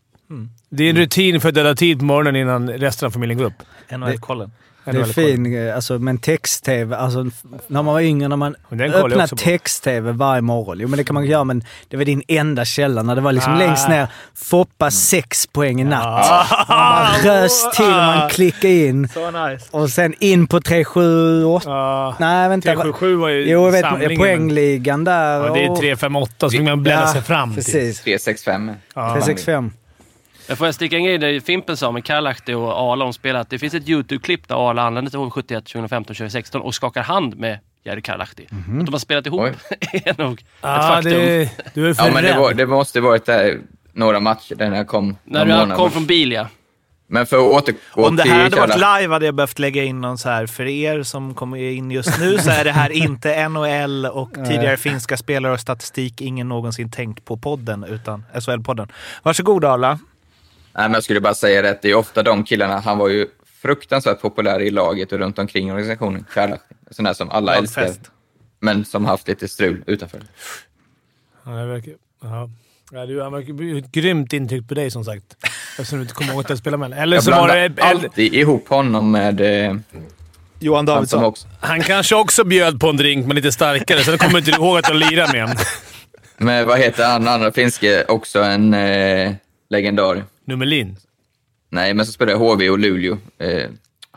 S8: Det är en rutin för att döda tid på morgonen innan resten av familjen går upp.
S2: NHL-kollen.
S9: Det är
S8: NHL -kollen.
S9: fin, eh, alltså, men text-tv, alltså, f- när man var yngre, när man
S8: Men den kollar jag
S9: öppnade
S8: också på.
S9: text-tv varje morgon. Jo men det kan man göra, men det var din enda källa när det var liksom
S8: Ah. Mm.
S9: längst ner. Foppa sex poäng i natt. Man rös till,
S8: Ah.
S9: man klickade in
S8: Så nice.
S9: och sen in på 378.
S8: Ja.
S9: Nej vänta.
S8: 377 var ju
S9: Jo jag vet,
S8: samlingen, men-
S9: poängligan där.
S8: Ja, det är
S9: och-
S8: 358 så vill man bläddra sig fram till.
S9: Precis.
S1: 3-6-5.
S8: Ja.
S9: 365.
S7: Jag får jag sticka en grej där Fimpen sa med Karalahti och Arla om spelet. Det finns ett YouTube-klipp där Arla anländer till HV71 2015 2016 och skakar hand med Jerry Karalahti. Att de har spelat ihop är nog
S8: Ja,
S7: ett faktum.
S8: det, du är för
S1: Ja, men det,
S8: rädd.
S1: var, det måste varit där några matcher där jag kom.
S7: När
S1: någon
S7: du
S1: månad.
S7: kom från bil, ja.
S1: Men för att återgå
S2: Om det
S1: till
S2: här hade varit
S1: Kärla.
S2: live hade jag behövt lägga in någon så här, för er som kommer in just nu så är det här inte NHL och tidigare finska spelare och statistik ingen någonsin tänkt på podden, utan SHL-podden. Varsågod Arla.
S1: Nej, men jag skulle bara säga det att det är ofta de killarna, han var ju fruktansvärt populär i laget och runt omkring organisationen. Kärla. Sån där som alla
S2: Lagfest.
S1: älskar. Men som haft lite strul utanför.
S8: Ja, det verkar, ja. Ja, du, han verkar bli ett grymt intryck på dig som sagt. Eftersom du inte kommer ihåg att jag spelade med honom. Eller
S1: Jag
S8: så var det...
S1: blandar
S8: Eller,
S1: alltid ihop honom med eh,
S2: Johan
S1: han som också.
S8: han kanske också bjöd på en drink, men lite starkare. Sen kommer inte du ihåg att du lirade med honom.
S1: Men vad heter han, andra finske, också en eh, legendar.
S8: Nummerlin.
S1: Nej, men så spelade jag HV och Luleå. Eh,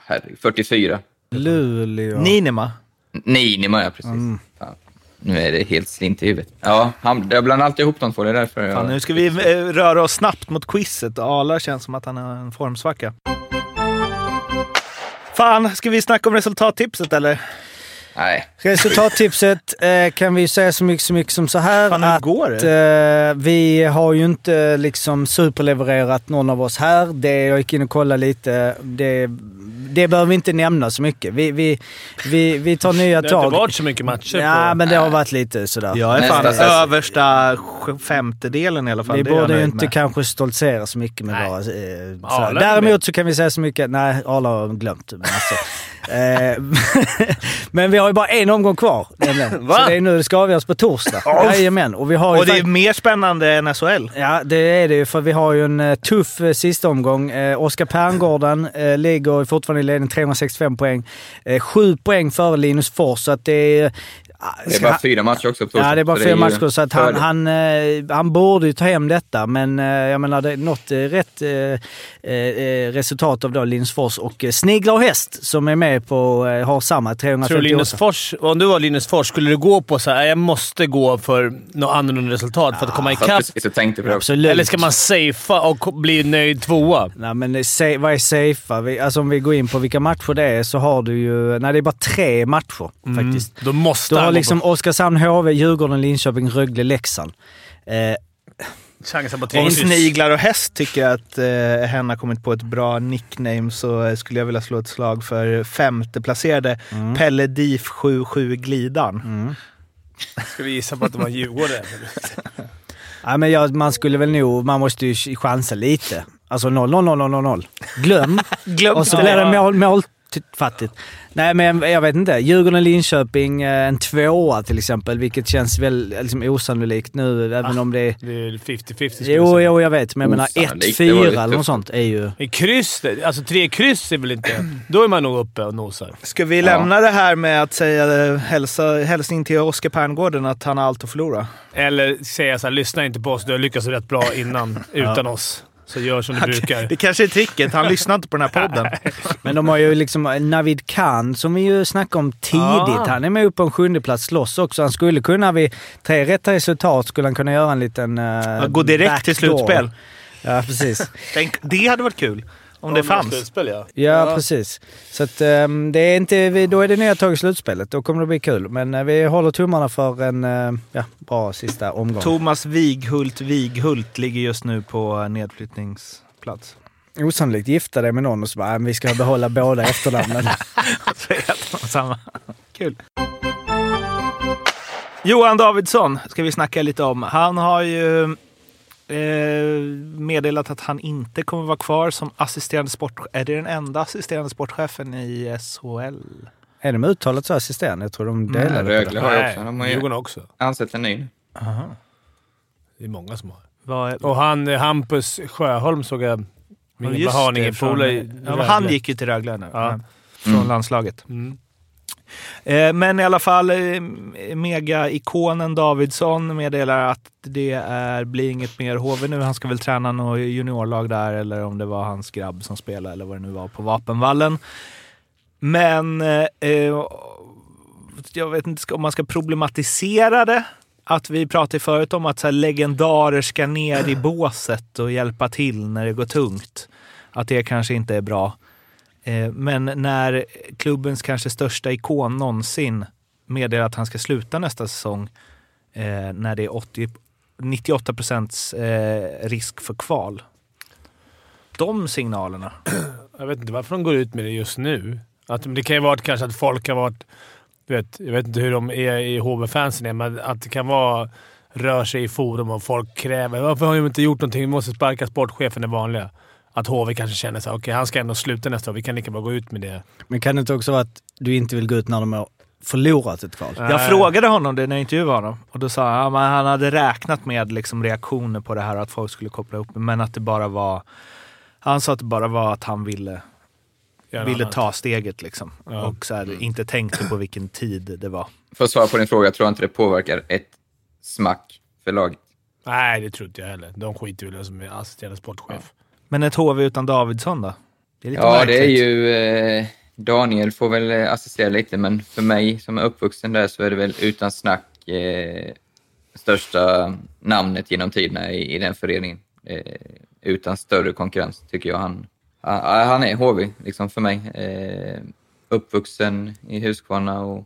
S1: herregud, 44.
S9: Luleå.
S2: Ninima.
S1: Niinima, ja precis.
S2: Mm.
S1: Fan. Nu är det helt slint i huvudet. Ja, han, jag blandar alltid ihop de två. Det är därför jag...
S2: Fan, nu ska vi eh, röra oss snabbt mot quizet. Arla känns som att han har en formsvacka. Fan, ska vi snacka om resultattipset eller?
S1: Nej.
S9: Resultattipset eh, kan vi säga så mycket, så mycket som så här
S2: Fan, hur
S9: att
S2: går
S9: Eh, vi har ju inte eh, liksom superlevererat någon av oss här. Det jag gick in och kollade lite. Det, det behöver vi inte nämna så mycket. Vi, vi, vi, vi tar nya
S8: Det har
S9: tag.
S8: inte varit så mycket matcher
S9: ja,
S8: på...
S9: men det har varit lite sådär.
S2: Jag är
S1: Nästa
S2: fan
S1: säsong.
S2: översta sj- femtedelen i alla fall.
S9: Vi
S2: Det är jag
S9: borde ju
S2: nöjd
S9: inte
S2: med.
S9: kanske stoltsera så mycket med
S8: Nej.
S9: våra... Eh, så.
S8: Arla är
S9: Däremot
S8: med.
S9: så kan vi säga så mycket... Nej, Arla har glömt. Men alltså, Eh, men vi har ju bara en omgång kvar. nämligen.
S2: Va?
S9: Så det är nu det ska avgöras på torsdag. Jajamän. Och, vi har ju
S2: Och det är
S9: fakt-
S2: mer spännande än SHL.
S9: Ja, det är det ju för vi har ju en eh, tuff eh, sista omgång. Eh, Oskar Perngården eh, ligger fortfarande i ledning 365 poäng. Eh, sju poäng före Linus Fors, så att det är... eh,
S1: Det är
S9: ska
S1: bara
S9: han-
S1: fyra matcher också på torsdag,
S9: Ja, det är bara
S1: så
S9: fyra
S1: ju
S9: matcher, så att han,
S1: fördel.
S9: han, eh, han borde ju ta hem detta. Men eh, jag menar, det är något eh, rätt eh, eh, resultat av då Linusfors och eh, Sniglar och Häst som är med på, eh, har samma
S8: Tror du
S9: 358.
S8: Linus Fors, om du var Linus Fors, skulle du gå på så här, jag måste gå för något annorlunda resultat för att komma
S1: Satt
S8: ikapp?
S1: precis och tänkte på det också.
S9: Absolut.
S8: Eller ska man safea och bli nöjd tvåa?
S9: Nej, men det är sa- vad är safea? Vi, alltså om vi går in på vilka matcher det är så har du ju... Nej, det är bara tre matcher faktiskt.
S8: Då måste
S9: Du
S8: han
S9: har
S8: gå
S9: liksom
S8: på-
S9: Oskarshamn, HV, Djurgården, Linköping, Rögle, Leksand. Eh,
S8: chansa på
S2: Om
S8: tre kryss.
S2: Sniglar och Häst tycker jag att eh, hen har kommit på ett bra nickname så eh, skulle jag vilja slå ett slag för femteplacerade
S9: Mm.
S2: Pelle Dief 77 Glidan.
S8: Ska vi gissa på att det var en djurgårdare?
S9: Ja, men jag, man skulle väl nog... Man måste ju ch- chansa lite. Alltså 0 0 0 0 0 Glöm.
S8: Glöm
S9: och så
S8: det.
S9: blir det mål, mål fattigt. Nej, men jag vet inte. Djurgården, Linköping, eh, en tvåa till exempel, vilket känns väl liksom osannolikt nu,
S2: Ah.
S9: även om det är...
S8: Det är 50-50 skulle jag
S9: Jo,
S8: säga.
S9: jo, jag vet, men jag menar
S1: Osannolikt, det var
S9: 1-4
S1: lite
S9: eller något
S1: tufft.
S9: sånt är ju...
S8: Men kryss, det- alltså tre kryss är väl inte... Då är man nog uppe och nosar.
S2: Ska vi lämna det här med att säga eh, hälsa, hälsning till Oskar Perngården att han har allt att förlora?
S8: Eller säga såhär, lyssna inte på oss. Du har lyckats rätt bra innan, utan oss. Så gör som du brukar.
S2: Det kanske är tricket. Han lyssnar inte på den här podden.
S9: Men de har ju liksom Navid Khan som vi ju snackade om tidigt.
S8: Ah.
S9: Han är med upp på en sjunde plats slåss också. Han skulle kunna, vid tre rätta resultat, skulle han kunna göra en liten... eh,
S2: gå direkt till
S9: backdoor.
S2: slutspel.
S9: Ja, precis.
S2: Tänk, det hade varit kul. Om det fanns.
S8: Slutspel, ja.
S9: Ja, precis. Så att, ehm, det är inte, vi- då är det nya tag i slutspelet. Då kommer det bli kul. Men eh, vi håller tummarna för en eh, ja, bra sista omgång.
S2: Thomas Wighult Wighult ligger just nu på eh, nedflyttningsplats.
S9: Osannolikt gifta dig med någon och så bara, "Nej, men vi ska behålla båda efternamnen.
S2: Så heter han samma. Kul. Johan Davidsson ska vi snacka lite om. Han har ju eh, meddelat att han inte kommer vara kvar som assisterande sportchef. Är det den enda assisterande sportchefen i SHL?
S9: är de uttalat så assisterande? Jag tror de delar det.
S1: Rögle har ju också. De har
S8: Nej,
S1: ju
S8: Djurgården också.
S1: ansett en ny.
S8: Det är många som har.
S2: Vad är-
S8: Och han eh, Hampus Sjöholm såg jag.
S2: Ja,
S8: Min
S2: just
S8: gamla
S2: det,
S8: Haninge-polare i
S2: från- ja, men
S8: Rögle.
S2: Han gick ju till Rögle nu.
S8: Ja.
S2: men Från landslaget.
S8: Mm.
S2: Eh, Men i alla fall, eh, mega-ikonen Davidsson meddelar att det är, blir inget mer HV nu. Han ska väl träna något juniorlag där, eller om det var hans grabb som spelade, eller vad det nu var, på Vapenvallen. Men eh, eh, jag vet inte ska- om man ska problematisera det. Att vi pratade förut om att så här, legendarer ska ner i båset och hjälpa till när det går tungt. Att det kanske inte är bra. Eh, Men när klubbens kanske största ikon någonsin meddelar att han ska sluta nästa säsong eh, när det är 80, 98 procents eh, risk för kval. De signalerna.
S8: Jag vet inte varför de går ut med det just nu. Att, men det kan ju vara att kanske att folk har varit... Du vet, jag vet inte hur de är i HV-fansen, är, men att det kan vara rör sig i forum och folk kräver “Varför har de inte gjort någonting? Vi måste sparka sportchefen, det vanliga”. Att HV kanske känner så här, okej han ska ändå sluta nästa år. Vi kan lika bra gå ut med det.
S9: Men kan det inte också vara att du inte vill gå ut när de har förlorat ett kval?
S2: Jag frågade honom det när jag intervjuade honom och då sa han att han hade räknat med liksom reaktioner på det här och att folk skulle koppla upp men att det bara var... Han sa att det bara var att han ville,
S8: Gör
S2: ville
S8: annat.
S2: ta steget liksom. Och så här, inte tänkte på vilken tid det var.
S1: För att svara på din fråga, jag tror inte det påverkar ett smack för laget.
S8: Nej, det tror inte jag heller. De skiter väl i vem som är assisterande sportchef.
S2: Men ett HV utan Davidsson då? Det är lite
S1: Ja,
S2: märkligt.
S1: det är ju... Eh, Daniel får väl eh, assistera lite, men för mig som är uppvuxen där så är det väl utan snack eh, största namnet genom tiderna i, i den föreningen. Eh, utan större konkurrens tycker jag han... Han, han är HV, liksom för mig. Eh, uppvuxen i Huskvarna och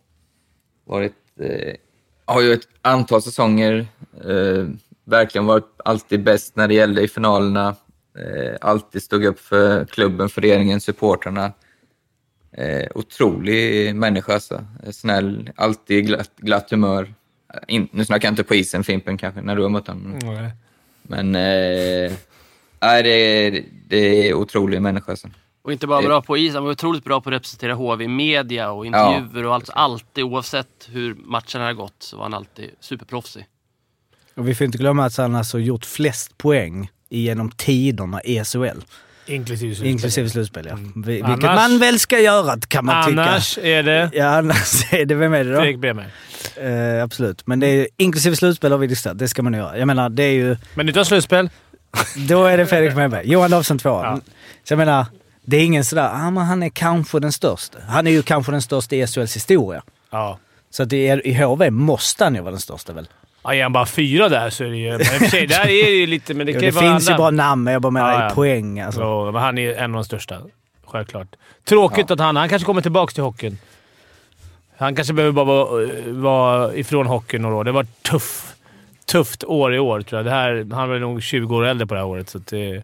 S1: varit, eh, har ju ett antal säsonger eh, verkligen varit alltid bäst när det gällde i finalerna. Eh, alltid stod upp för klubben, föreningen, supportrarna. Eh, otrolig människa alltså. Eh, Snäll, alltid glatt, glatt humör. Eh, In, nu snackar jag inte på isen, Fimpen kanske, när du har mött honom. Men eh, nej, det, är- det är otrolig människa alltså.
S7: Och inte bara bra på isen, han var otroligt bra på att representera HV i media och intervjuer och allt. Alltid, oavsett hur matchen hade gått, så var han alltid superproffsig.
S9: Och vi får inte glömma att han alltså gjort flest poäng genom tiderna i SHL.
S8: Inklusive slutspel.
S9: Inklusive slutspel, ja. Vi- Vilket
S8: Mm. Annars-
S9: man väl ska göra, kan man tycka.
S8: Annars är det
S9: Ja, annars är det... Vem är det då?
S8: Fredrik Bremer.
S9: Eh, absolut. Men det är, inklusive slutspel har vi listat. Det ska man göra. Jag menar, det är ju...
S8: Men utan slutspel.
S9: Då är det Fredrik Mellberg. Johan Lofsson tvåa. Så jag menar, det är ingen sådär, ah, men han är kanske den största. Han är ju kanske den största i SHLs historia.
S8: Ja.
S9: Så att i, i HV måste han ju vara den största väl?
S8: Ja, är han bara fyra där så är det ju... Men i och för sig, där är det ju lite... Men det
S9: Det,
S8: kan
S9: jo,
S8: ju
S9: det
S8: vara
S9: finns ju
S8: andra.
S9: bra namn, men jag bara menar
S8: Ja, ja.
S9: i poäng. Alltså.
S8: Ja, men han är en av de största. Självklart. Tråkigt att han... Han kanske kommer tillbaka till hockeyn. Han kanske behöver bara vara, vara ifrån hockeyn några år. Det var ett tuff, tufft år i år, tror jag. Det här, han var nog 20 år äldre på det här året, så att det,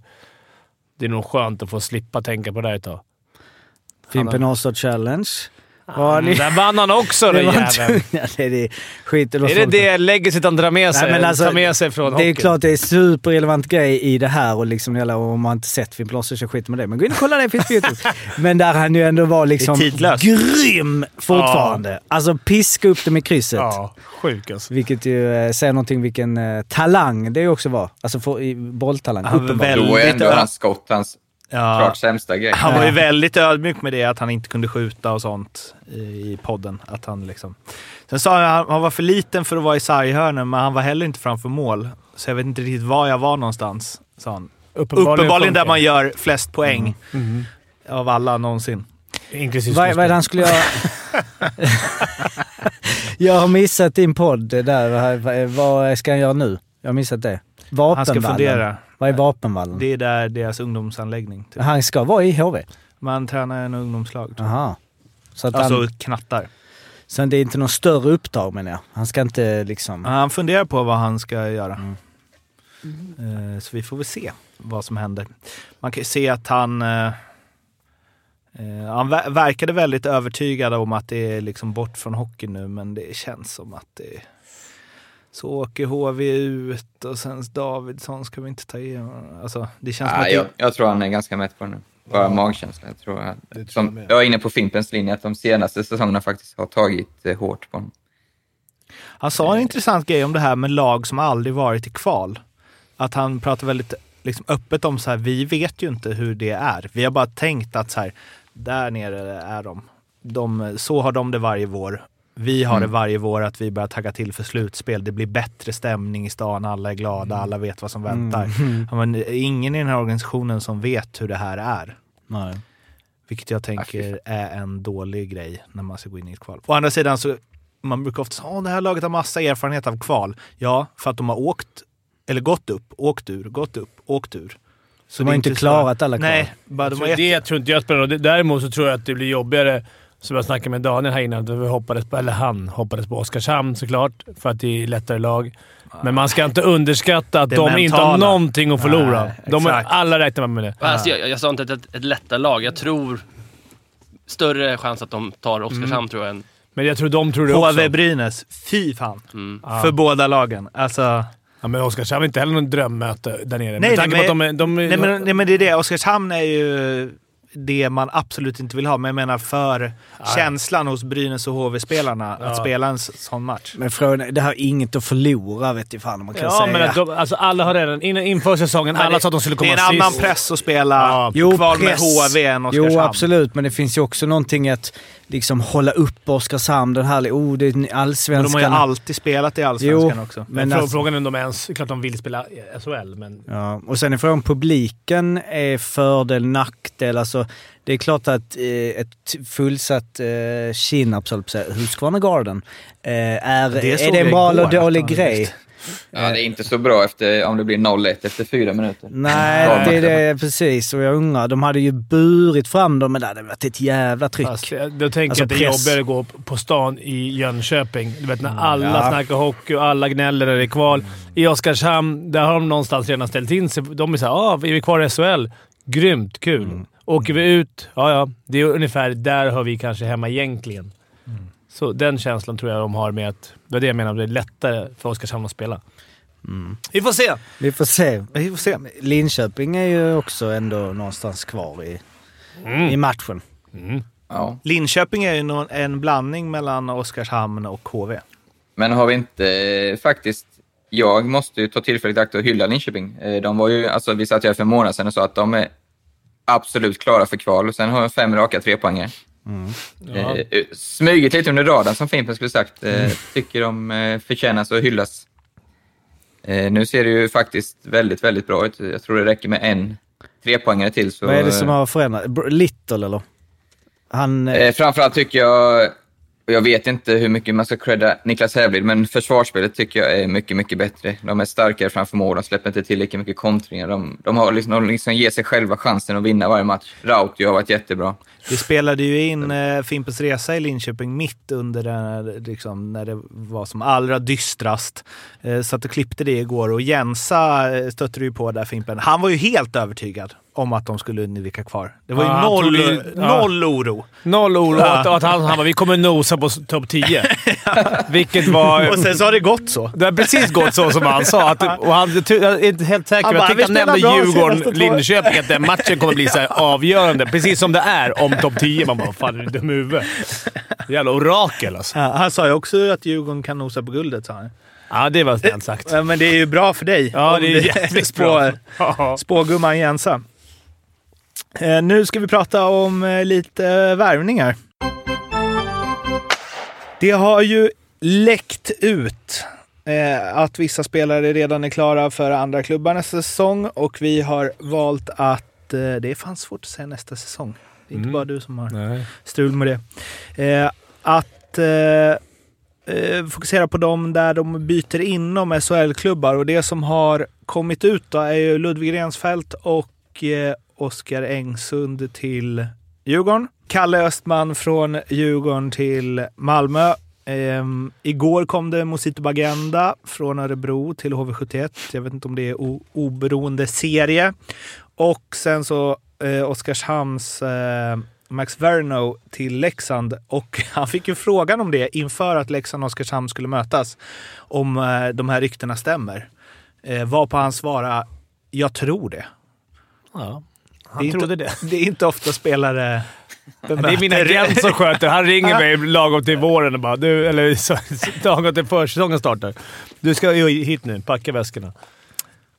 S8: det är nog skönt att få slippa tänka på det här ett tag.
S9: Fimpen Åstorp Challenge. Var ni-
S8: Ah, Mm, Där vann han också,
S9: det
S8: den
S9: var en
S8: jäveln!
S9: tunga. Det är det. Skit i
S8: Är det det legacyt han drar med sig,
S9: Nej, men alltså,
S8: tar med sig från
S9: Det är
S8: hockeyn?
S9: klart det är superrelevant grej i det här och liksom, eller om man inte sett Fimpen Larsson så skit med det. Men gå in och kolla det, finns på YouTube. Men där han ju ändå var liksom
S2: Det är tidlöst.
S9: grym fortfarande. Alltså piska upp det med krysset.
S8: Ja, sjuk alltså.
S9: Vilket ju eh, säger någonting vilken eh, talang det också var. Alltså för, i, bolltalang.
S2: Han var
S9: uppenbarligen.
S1: Då är
S2: Lite
S1: ändå
S2: öra.
S1: hans skott hans
S2: Ja,
S1: klart sämsta grej.
S2: han var ju väldigt ödmjuk med det, att han inte kunde skjuta och sånt i i podden. Att han liksom... Sen sa jag att han var för liten för att vara i sarghörnen, men han var heller inte framför mål. Så jag vet inte riktigt var jag var någonstans, sa han. Uppenbarligen, där man gör flest poäng av alla någonsin.
S8: Inklusive
S9: Vad vad är det han skulle göra? jag har missat din podd där. Vad- Vad ska han göra nu? Jag har missat det. Vapenvallen.
S2: Han ska fundera.
S9: Vad är vapenvallen?
S2: Det är där deras ungdomsanläggning. Typ.
S9: Han ska vara i HV?
S2: Man tränar en ungdomslag. Typ.
S9: Aha. Så, att
S2: Alltså
S9: han,
S2: knattar.
S9: sen det är inte någon större uppdrag menar jag. Han ska inte liksom...
S2: Han funderar på vad han ska göra.
S1: Mm.
S2: Eh, Så vi får väl se vad som händer. Man kan ju se att han... eh, eh, Han ver- verkade väldigt övertygad om att det är liksom bort från hockey nu, men det känns som att det... Så åker HV ut och sen Davidsson ska vi inte ta in. Alltså, det känns som att
S1: Nej,
S2: det...
S1: Ah, jag, jag tror han är ganska mätt på det nu. Bara magkänsla. Jag, tror att, som, jag är inne på Fimpens linje, att de senaste säsongerna faktiskt har tagit eh, hårt på honom.
S2: Han sa en intressant grej om det här med lag som aldrig varit i kval. Att han pratar väldigt liksom, öppet om så här, vi vet ju inte hur det är. Vi har bara tänkt att så här, där nere är de. de. Så har de det varje vår. Vi har
S9: Mm.
S2: det varje vår att vi börjar tagga till för slutspel. Det blir bättre stämning i stan, alla är
S9: Mm.
S2: glada, alla vet vad som väntar. Ja, Men ingen i den här organisationen som vet hur det här är.
S9: Nej.
S2: Vilket jag tänker är en dålig grej när man ska gå in i ett kval. Å andra sidan så man brukar ofta säga att det här laget har massa erfarenhet av kval. Ja, för att de har åkt, eller gått upp, åkt ur, gått upp, åkt ur. Så
S9: De
S2: det
S9: har
S2: är
S9: inte
S2: så här-
S9: klarat alla kval.
S2: Nej, bara de
S8: Jag
S2: har
S8: tror,
S2: gett...
S8: det tror inte jag spelar någon roll. Däremot så tror jag att det blir jobbigare, som jag snackade med Daniel här innan, att vi hoppades på, eller han hoppades på Oskarshamn såklart, för att det är lättare lag. Men man ska inte underskatta att
S2: Det
S8: de inte har
S2: mentala.
S8: någonting att förlora.
S2: Nej,
S8: de har,
S2: exakt.
S8: alla räknar man med det.
S7: Alltså, jag, jag sa inte att det är ett, ett lättare lag. Jag tror större chans att de tar Oskarshamn, tror jag, än
S8: Men jag tror de tror det också.
S2: HV Brynäs, fy fan. För båda lagen. Alltså,
S8: Ja, men Oskarshamn är inte heller något drömmöte där nere.
S2: Nej,
S8: med tanke på
S2: nej,
S8: att de, är- de, är-
S2: nej, men, nej men det är det. Oskarshamn är ju det man absolut inte vill ha, men jag menar för känslan hos Brynäs och HV-spelarna att spela en s- sån match.
S9: Men frågan är, det har inget att förlora vet jag fan om man kan
S8: Ja,
S9: säga.
S8: men att de, alltså alla har redan... Innan, inför säsongen, alla sa att de skulle komma
S2: Det är en annan
S8: sist.
S2: press att spela
S8: Ja.
S9: Jo,
S2: kval med
S9: press.
S2: HV än Oskarshamn.
S9: Jo, absolut. Men det finns ju också någonting att liksom hålla upp Oskarshamn. Den här... Oh, det är
S2: Men
S9: allsvenskan.
S2: de har ju alltid spelat i Allsvenskan
S9: Jo,
S2: också.
S9: men
S8: Men frå-
S9: alltså-
S8: Frågan är om de ens... klart de vill spela SHL, men...
S9: Ja, och sen är frågan om publiken är fördel, nackdel. Alltså, det är klart att eh, ett fullsatt eh, Kinnarps, höll jag på att säga, Husqvarna Garden, eh, är,
S2: Det
S9: är
S2: såg
S9: det
S2: jag
S9: en bra
S2: igår,
S9: eller dålig
S2: att han-
S9: grej?
S1: Ja, det är inte Eh, så bra efter, om det blir 0-1 efter fyra minuter.
S9: Nej, det är det precis. Och jag undrar, de hade ju burit fram dem, men det hade varit ett jävla tryck.
S8: Fast eh, då tänker
S9: Alltså
S8: jag att det är
S9: press. Mm,
S8: jobbigare att gå p- på stan i Jönköping. Du vet när alla
S9: ja.
S8: snackar hockey och alla gnäller när det är kval. I Oskarshamn, där har de någonstans redan ställt in sig. De är såhär “Ah, är vi kvar i SHL? Grymt, kul!”
S9: Mm.
S8: Åker vi ut? Ja, ja. Det är ungefär där har vi kanske hemma egentligen.
S9: Mm.
S8: Så den känslan tror jag de har med att... Det var det jag menar, det är lättare för Oskarshamn att spela. Vi får se!
S9: Vi får se.
S2: Vi får se.
S9: Linköping är ju också ändå någonstans kvar i...
S2: Mm.
S9: i matchen.
S1: Ja.
S2: Linköping är ju någon, en blandning mellan Oskarshamn och HV.
S1: Men har vi inte eh, faktiskt... Jag måste ju ta tillfället i akt och hylla Linköping. Eh, De var ju, alltså, vi satt ju här för en månad sedan och sa att de är absolut klara för kval och sen har de fem raka trepoängare.
S9: Mm.
S1: Eh, eh, smugit lite under radarn som Fimpen skulle sagt. Eh,
S9: Mm.
S1: tycker de eh, förtjänas att hyllas. Eh, nu ser det ju faktiskt väldigt, väldigt bra ut. Jag tror det räcker med en trepoängare till. Så,
S9: Vad är det som har förändrats? Br- Little eller? Han... eh,
S1: Eh, framförallt tycker jag, och jag vet inte hur mycket man ska credda Niklas Hävlid, men försvarsspelet tycker jag är mycket, mycket bättre. De är starkare framför mål, de släpper inte till lika mycket kontringar. De, de, har liksom, de liksom ger sig själva chansen att vinna varje match. Rautio har varit jättebra.
S2: Vi spelade ju in eh, Fimpens Resa i Linköping mitt under den, här, liksom, när det var som allra dystrast. Eh, så att du klippte det igår och Jensa eh, stötte du ju på där Fimpen. Han var ju helt övertygad om att de skulle undvika kvar. Det var ju
S8: Ja, han
S2: noll,
S8: trodde- ja.
S2: noll oro.
S8: Noll oro. Att, att han, han bara, vi kommer nosa på topp 10. Vilket var...
S2: Och sen så har det gått så.
S8: Det har precis gått så som han sa. Att, och han, jag är inte helt säker,
S2: Han
S8: men jag
S2: bara,
S8: tyckte han
S2: "Vi spelar
S8: nämnde
S2: bra senaste två."
S8: Djurgården-Linköping, att den matchen kommer bli så här avgörande. Precis som det är om topp 10. Man bara, fan är du dum i huvudet? Jävla orakel alltså.
S2: Ja, han sa ju också att Djurgården kan nosa på guldet, sa han.
S8: Ja, det var snällt sagt.
S2: Ja, Men det är ju bra för dig.
S8: Ja,
S2: Om
S8: det är jävligt bra. Ja.
S2: Spågumman Jensa. Eh, nu ska vi prata om eh, lite eh, värvningar. Det har ju läckt ut eh, att vissa spelare redan är klara för andra klubbar nästa säsong och vi har valt att... Eh, det är fan svårt att säga nästa säsong. Det är inte bara du som har strul med det. Eh, att eh, eh, fokusera på dem där de byter inom SHL-klubbar och det som har kommit ut då är ju Ludvig Rensfeldt och eh, Oskar Engsund till Djurgården. Kalle Östman från Djurgården till Malmö. Ehm, igår kom det Mosito Bagenda från Örebro till HV71. Jag vet inte om det är o- oberoende serie. Och sen så eh, Oskarshamns eh, Max Verno till Leksand. Och han fick ju frågan om det inför att Leksand och Oskarshamn skulle mötas. Om eh, de här ryktena stämmer. Eh, var på han svara, jag tror det.
S8: Ja,
S2: det är inte, det. Det är inte ofta spelare
S8: Det är min agent som sköter. Han ringer mig lagom till våren och bara du, eller så- lagom till försäsongen startar. Du ska ju hit nu. Packa väskorna.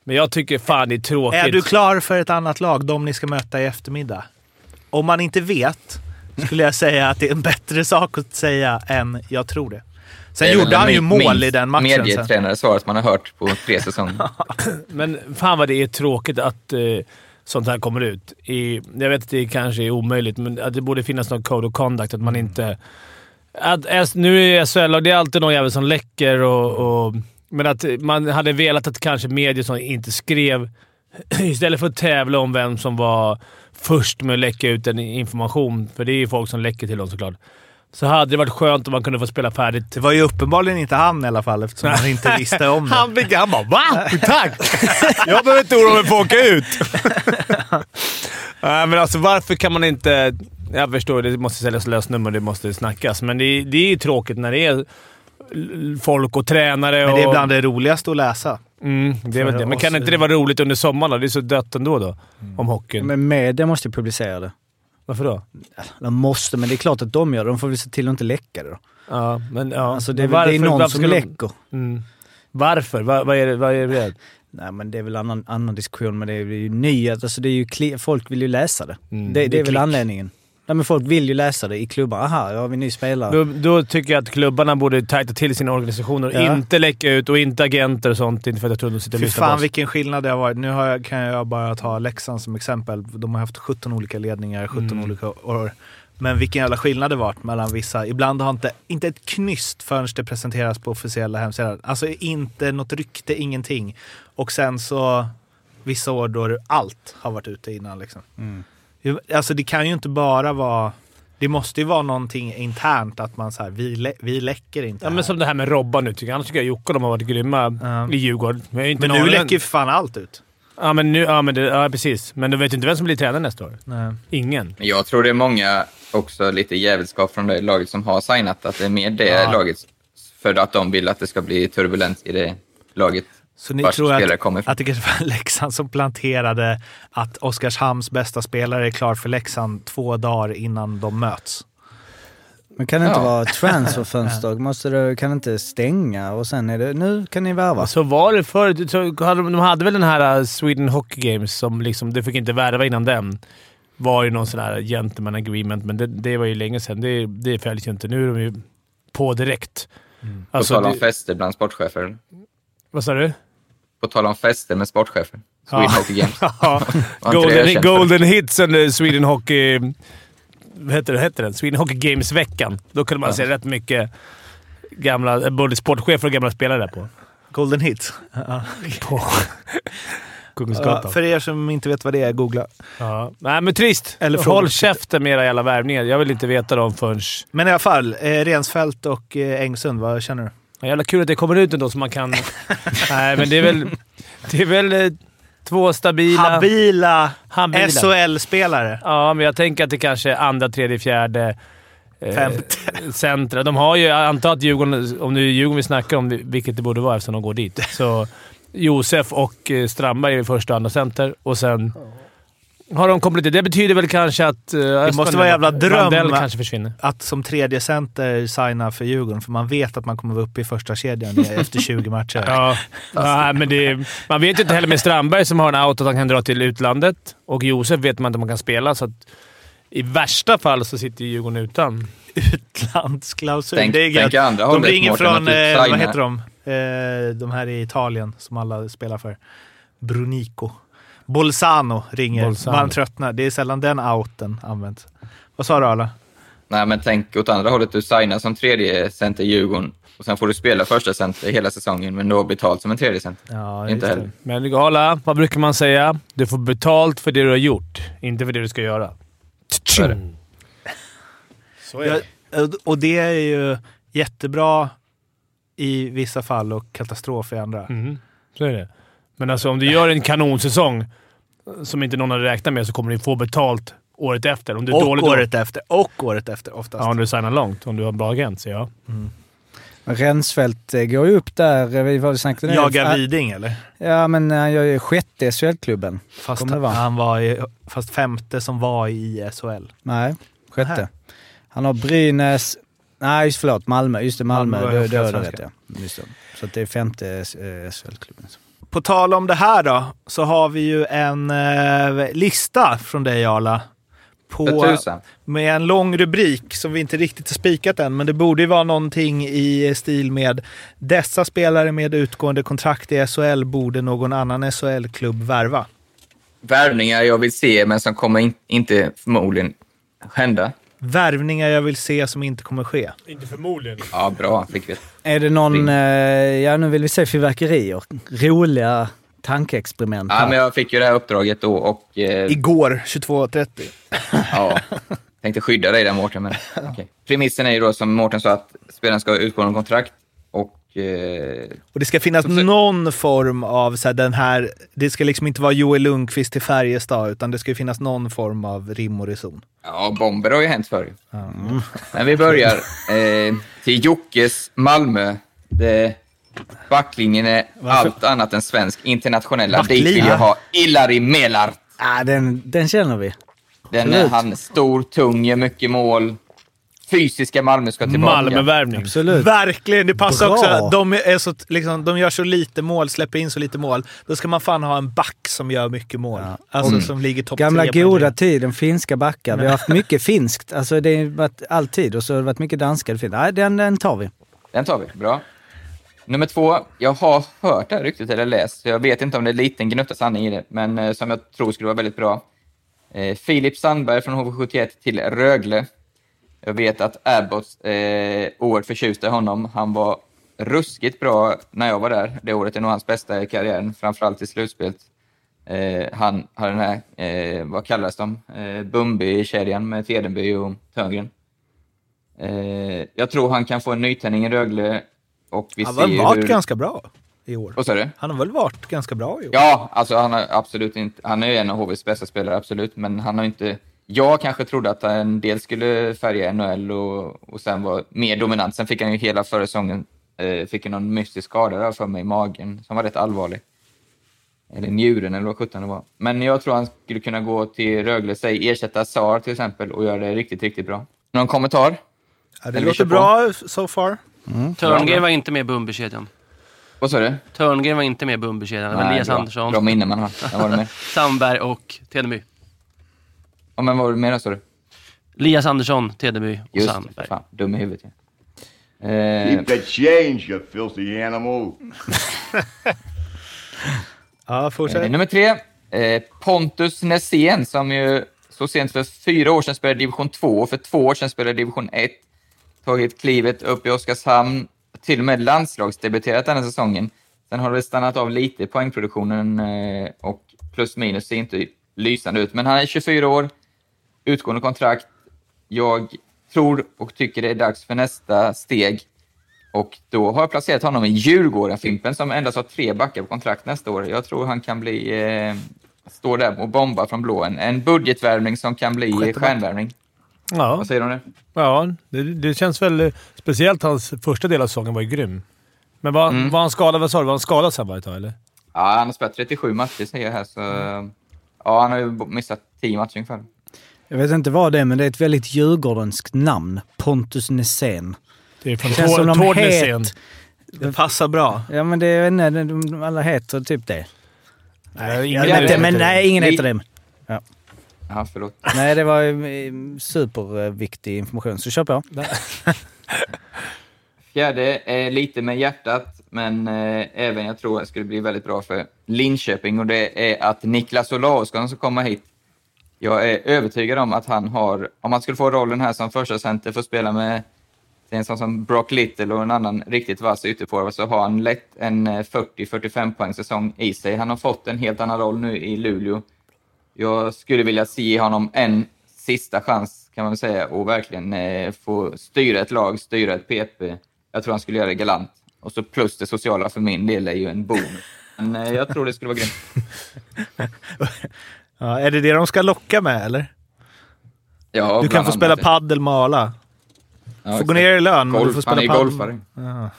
S8: Men jag tycker fan det är tråkigt.
S2: Är du klar för ett annat lag, de ni ska möta i eftermiddag? Om man inte vet skulle jag säga att det är en bättre sak att säga än jag tror det.
S1: Det
S2: Sen
S1: är väl
S2: gjorde han
S1: den
S2: ju
S1: mi-
S2: mål
S1: minst
S2: i den matchen. sen.
S1: Medietränare svaret man har hört på tre säsonger.
S8: Men fan vad det är tråkigt att eh, sånt här kommer ut. I, jag vet att det kanske är omöjligt, men att det borde finnas någon code of conduct. Att man
S2: Mm.
S8: inte... Att, S- nu är SHL och det är alltid någon jävel som läcker och, och... Men att man hade velat att kanske medier som inte skrev... Istället för att tävla om vem som var först med att läcka ut en information, för det är ju folk som läcker till dem såklart, så hade det varit skönt om man kunde få spela färdigt
S2: Det var ju uppenbarligen inte han i alla fall eftersom han inte visste om det.
S8: han, fick, han bara va? Tack! Jag behöver inte oroa mig för att åka ut. Nej, men alltså varför kan man inte... Jag förstår, det måste säljas lösnummer det måste snackas, men det, är- det är ju tråkigt när det är l- folk och tränare
S2: Men det är
S8: och...
S2: bland det roligaste att läsa.
S8: mm, det är väl det. Men kan inte det vara roligt under sommaren då? Det är så dött ändå då, om hockeyn.
S9: Men media måste ju publicera det.
S8: Varför då?
S9: De måste, men det är klart att de gör det. De får väl se till att inte läcka det då.
S8: Ja, men, ja.
S9: Alltså det är,
S8: Men
S9: väl- det är någon
S8: varför
S9: som
S8: skulle de-
S9: läcker.
S8: Mm. Varför? Va, vad är det? Vad är det?
S9: Nej men det är väl annan, annan diskussion, men det är ju nyhet. Alltså det är ju kli- folk vill ju läsa det.
S8: Mm,
S9: det, det,
S8: det är
S9: är väl
S8: klick.
S9: anledningen. Nej men folk vill ju läsa det i klubbar. Aha, ja, vi ny spelare.
S8: Då, då tycker jag att klubbarna borde tajta till sina organisationer och
S9: Ja.
S8: inte läcka ut och inte agenter och sånt. Inte för att jag tror de sitter och
S2: Fy
S8: lyssnar på
S2: fan
S8: oss.
S2: vilken skillnad det har varit. Nu har jag, kan jag bara ta Leksand som exempel. De har haft 17 olika ledningar, 17
S8: Mm.
S2: olika år. Men vilken jävla skillnad det varit mellan vissa. Ibland har inte, inte ett knyst förrän det presenteras på officiella hemsidan. Alltså inte något rykte, ingenting. Och sen så vissa år då allt har varit ute innan. Liksom.
S8: Mm.
S2: Ju- Alltså det kan ju inte bara vara... Det måste ju vara någonting internt att man så här, vi, lä- vi läcker inte
S8: Ja,
S2: här.
S8: men som det här med Robban nu. Tycker jag. Annars tycker jag Jocke och de har varit grymma
S2: Ja.
S8: i Djurgården. Men, jag är inte
S2: Men nu
S8: någon-
S2: läcker ju för fan allt ut.
S8: Ja, men nu... Ja, men det, ja, precis. Men du vet inte vem som blir tränare nästa år?
S2: Nej.
S8: Ingen.
S1: Men Jag tror det är många, också lite jävelskap från det laget som har signat, att det är mer det laget. För att de vill att det ska bli turbulens i det laget.
S2: Så ni
S1: Vart
S2: tror
S1: spelare
S2: att,
S1: kommer ifrån.
S2: att det kanske var Leksand som planterade att Oskarshamns bästa spelare är klar för Leksand två dagar innan de möts?
S9: Men kan det inte
S1: Ja.
S9: vara transferfönster? Måste det, kan det inte stänga och sen är det nu kan ni värva?
S8: Så var det förut. Så hade de- De hade väl den här eh, Sweden Hockey Games som liksom, det fick inte värva innan den. var ju någon sån här gentleman agreement, men det, det var ju länge sedan. Det, det följs ju inte. Nu är de ju på direkt.
S2: Mm.
S1: På
S8: Alltså,
S1: tal om
S8: det-
S1: fester bland sportchefer.
S8: vad sa du?
S1: På tal om fester med sportchefer. Sweden
S8: Ja.
S1: Hockey Games.
S8: Ja.
S1: Var inte det jag
S8: golden,
S1: kände?
S8: golden Hits under Sweden Hockey... Vad heter, det, heter den? Sweden Hockey Games-veckan. Då kunde man se rätt mycket gamla, både sportchefer och gamla spelare där på.
S2: Golden hit.
S8: på
S2: Ja,
S8: Kungsgatan.
S2: för er som inte vet vad det är, googla.
S8: Ja. Nej, men trist.
S2: Eller
S8: Håll
S2: fråga-
S8: käften med era jävla värvningar. Jag vill inte veta dem förrän...
S2: Men i alla fall, eh, Rensfeldt och eh, Engsund, vad känner du?
S8: Ja, Jävla kul att det kommer ut ändå så man kan... Nej, men det är väl... Det är väl eh, två stabila...
S2: Habila
S8: Habila.
S2: SHL-spelare.
S8: Ja, men jag tänker att det kanske är andra, tredje, fjärde... eh,
S2: Femte.
S8: Centra. De har ju... Jag antar att Djurgården, om det är Djurgården vi snackar om, vilket det borde vara eftersom de går dit, så Josef och eh, Strandberg är första och andra center och sen har de kompletterat. Det betyder väl kanske att... eh, Det
S2: måste vara jävla dröm,
S8: Mandell
S2: va?
S8: kanske försvinner.
S2: Att som tredje center signa för Djurgården, för man vet att man kommer vara uppe i första kedjan efter 20 matcher.
S8: Ja, nej, men det, man vet ju inte heller med Strandberg som har en out att han kan dra till utlandet. Och Josef vet man inte om han kan spela, så att i värsta fall så sitter ju Djurgården utan.
S2: Utlandsklausul.
S1: Tänk-
S2: det är
S1: tänk i andra
S2: de
S1: hållet,
S2: ringer
S1: Mårten, att
S2: från,
S1: typ
S2: eh,
S1: signa-
S2: vad heter de? Eh, de här i Italien som alla spelar för. Brunico. Bolzano ringer.
S8: Bolzano.
S2: Man tröttnar. Det är sällan den outen används. Vad sa du Arla?
S1: Nej, men tänk åt andra hållet. Du signar som tredje center i Djurgården och sen får du spela första center hela säsongen, men då betalt som en tredje center.
S2: Ja,
S1: Inte
S2: just det.
S1: heller.
S8: Men Gala, vad brukar man säga? Du får betalt för det du har gjort, inte för det du ska göra. Mm.
S1: Så är det.
S8: Så
S2: Ja, och det är ju jättebra i vissa fall och katastrof i andra.
S8: Mm, så är det. Men alltså om du gör en kanonsäsong eh, som inte någon hade räknat med så kommer du få betalt året efter. Om du är
S2: Och
S8: dålig
S2: året efter. Och året efter oftast.
S8: Ja, om du signar långt. Om du har en bra agent, så ja.
S9: Rensfeldt eh, går ju upp där. eh, Vi var ju snackade
S2: Jagar Widing eller?
S9: Ah, Ja, men han gör ju sjätte SHL-klubben.
S2: Fast,
S9: Kommer det vara?
S2: han var i, fast femte som var i SHL.
S9: Nej, sjätte.
S2: Nähä.
S9: Han har Brynäs... Nej, just förlåt. Malmö. Just det, Malmö.
S2: Malmö var
S9: Malmö
S2: ju
S9: då, då, då vet jag.
S2: allsvenskan.
S9: Just det. Så att det är femte eh, SHL-klubben.
S2: På tal om det här då, så har vi ju en eh, lista från dig Arla.
S1: För
S2: På,
S1: tusan.
S2: med en lång rubrik som vi inte riktigt har spikat än, men det borde ju vara någonting i stil med “Dessa spelare med utgående kontrakt i SHL borde någon annan SHL-klubb värva”.
S1: Värvningar jag vill se, men som kommer in, inte förmodligen hända.
S2: Värvningar jag vill se som inte kommer ske.
S8: Inte förmodligen.
S1: Ja, bra. Fick vi.
S9: Är det någon... Eh, ja, nu vill vi se fyrverkerier. Roliga tankeexperiment.
S1: Ja,
S9: här.
S1: men jag fick ju det här uppdraget då och eh,
S2: Igår 22.30.
S1: ja, tänkte skydda dig där, Mårten. Men, okej. Premissen är ju då, som Mårten sa, att spelaren ska utgå någon kontrakt och eh,
S2: Och det ska finnas
S1: Som sagt-
S2: någon form av så här, den här... Det ska liksom inte vara Joel Lundqvist till Färjestad, utan det ska ju finnas någon form av rim och reson.
S1: Ja, bomber har ju hänt förr. Men vi börjar eh, till Jockes Malmö. Det, backlinjen är allt annat än svensk. Internationella. Dit vill jag ha Ilari Melart.
S9: Ah, den, den känner vi.
S1: Den är
S9: Absolut.
S1: han stor, tung, gör mycket mål. Fysiska Malmö ska tillbaka.
S8: Malmövärvning.
S9: Absolut.
S2: Verkligen! Det passar
S9: Bra.
S2: också. att De, är så, liksom, de gör så lite mål, släpper in så lite mål. Då ska man fan ha en back som gör mycket mål. Alltså som ligger topp
S9: Gamla
S2: tre på en
S9: goda
S2: liga.
S9: tiden, finska backar. Vi har haft mycket finskt. Alltså det har varit alltid. Och så har det varit mycket danska. Det finns- Nej, den, den tar vi.
S1: Den tar vi. Bra. Nummer två. Jag har hört det här ryktet eller läst, så jag vet inte om det är en liten gnutta sanning i det, men eh, som jag tror skulle vara väldigt bra. Eh, Filip Sandberg från HV71 till Rögle. Jag vet att Abbott eh, oerhört förtjust i honom. Han var ruskigt bra när jag var där. Det året är nog hans bästa i karriären, framförallt i slutspelet. Eh, han har den här, eh, vad kallas de, eh, Bumby-kedjan med Tedenby och Törngren. Eh, jag tror han kan få en nytändning i Rögle och vi
S2: Han
S1: ser
S2: har
S1: ju
S2: väl varit
S1: hur...
S2: ganska bra i år.
S1: Vad sa du?
S2: Han har väl varit ganska bra i år?
S1: Ja, alltså han har absolut inte... Han är ju en av HVs bästa spelare, absolut, men han har inte... Jag kanske trodde att han en del skulle färga NHL och, och sen vara mer dominant. Sen fick han ju hela förra säsongen Eh, fick ju någon mystisk skada där för mig i magen som var rätt allvarlig. Eller njuren eller vad sjutton det var. Men jag tror han skulle kunna gå till Rögle, säg ersätta Sar till exempel och göra det riktigt, riktigt bra. Någon kommentar?
S2: Ja, det
S1: Eller vi kör
S2: låter
S1: på.
S2: bra so far.
S7: Mm. Törngren var inte med i Bumbekedjan.
S1: Vad sa du?
S7: Törngren var inte med i Bumbekedjan. Det var Elias
S1: bra.
S7: Andersson,
S1: Bra minne man har. Jag var det med.
S7: Sandberg och Tedeby.
S1: Ja, men vad var det mer sa du?
S7: Elias Andersson, Tedeby och
S1: Just det, för
S7: Sandberg.
S1: fan. Dum i huvudet. Ja. Eh,
S10: Keep the change, you filthy animal.
S2: Ja,
S1: Eh,
S2: fortsätt.
S1: nummer tre, eh, Pontus Nässén som ju så sent för fyra år sedan spelade division 2 och för två år sedan spelade division 1. Tagit klivet upp i Oskarshamn, till och med landslagsdebuterat den här säsongen. Sen har det stannat av lite i poängproduktionen eh, och plus minus ser inte lysande ut. Men han är 24 år, utgående kontrakt. Jag tror och tycker det är dags för nästa steg. Och då har jag placerat honom i Djurgården, Fimpen, som endast har tre backar på kontrakt nästa år. Jag tror han kan bli... Eh, stå där och bomba från blå. En, en budgetvärvning som kan bli eh, stjärnvärvning.
S8: Ja,
S1: Vad säger du om det?
S8: ja det, det känns väl... eh, Speciellt hans första del av säsongen var ju grym. Men var,
S2: Mm.
S8: var han skadad? Vad sa du? Var han skadad sen varje dag, eller?
S1: Ja, han har spelat 37 matcher, säger jag här, så... Ja, han har ju missat 10 matcher ungefär.
S9: Jag vet inte vad det är, men det är ett väldigt djurgårdenskt namn. Pontus Nässén.
S8: Det är från
S9: Känns som
S8: Tord-
S9: de
S8: Tordnesen.
S9: het-
S2: Det passar bra.
S9: Ja, men det är, nej, de, alla heter typ det.
S8: Nej,
S9: Jag
S8: ingen
S9: vet
S1: heter
S9: inte,
S1: det.
S9: men nej, ingen
S1: Vi-
S9: heter det.
S1: Ja, förlåt.
S9: Nej, det var eh, superviktig information, så kör på.
S1: Fjärde, eh, lite med hjärtat, men eh, även jag tror det skulle bli väldigt bra för Linköping och det är att Niklas Olausson ska komma hit. Jag är övertygad om att han har, om han skulle få rollen här som första center för att spela med en sån som Brock Little och en annan riktigt vass ytterforward så har han lätt en eh, 40-45 poäng säsong i sig. Han har fått en helt annan roll nu i Luleå. Jag skulle vilja se honom en sista chans kan man väl säga och verkligen eh, få styra ett lag, styra ett PP. Jag tror han skulle göra det galant. Och så plus det sociala för min del är ju en bonus. Men eh, jag tror det skulle vara grymt.
S2: Ja, är det det de ska locka med, eller?
S1: Ja,
S2: Du kan
S1: bland
S2: få
S1: annat.
S2: spela paddel med Arla.
S1: Ja,
S2: Får
S1: exakt.
S2: gå ner i lön, men du
S1: Golf,
S2: får
S1: han
S2: spela
S1: är
S2: paddel.
S1: golfare.
S2: Ja,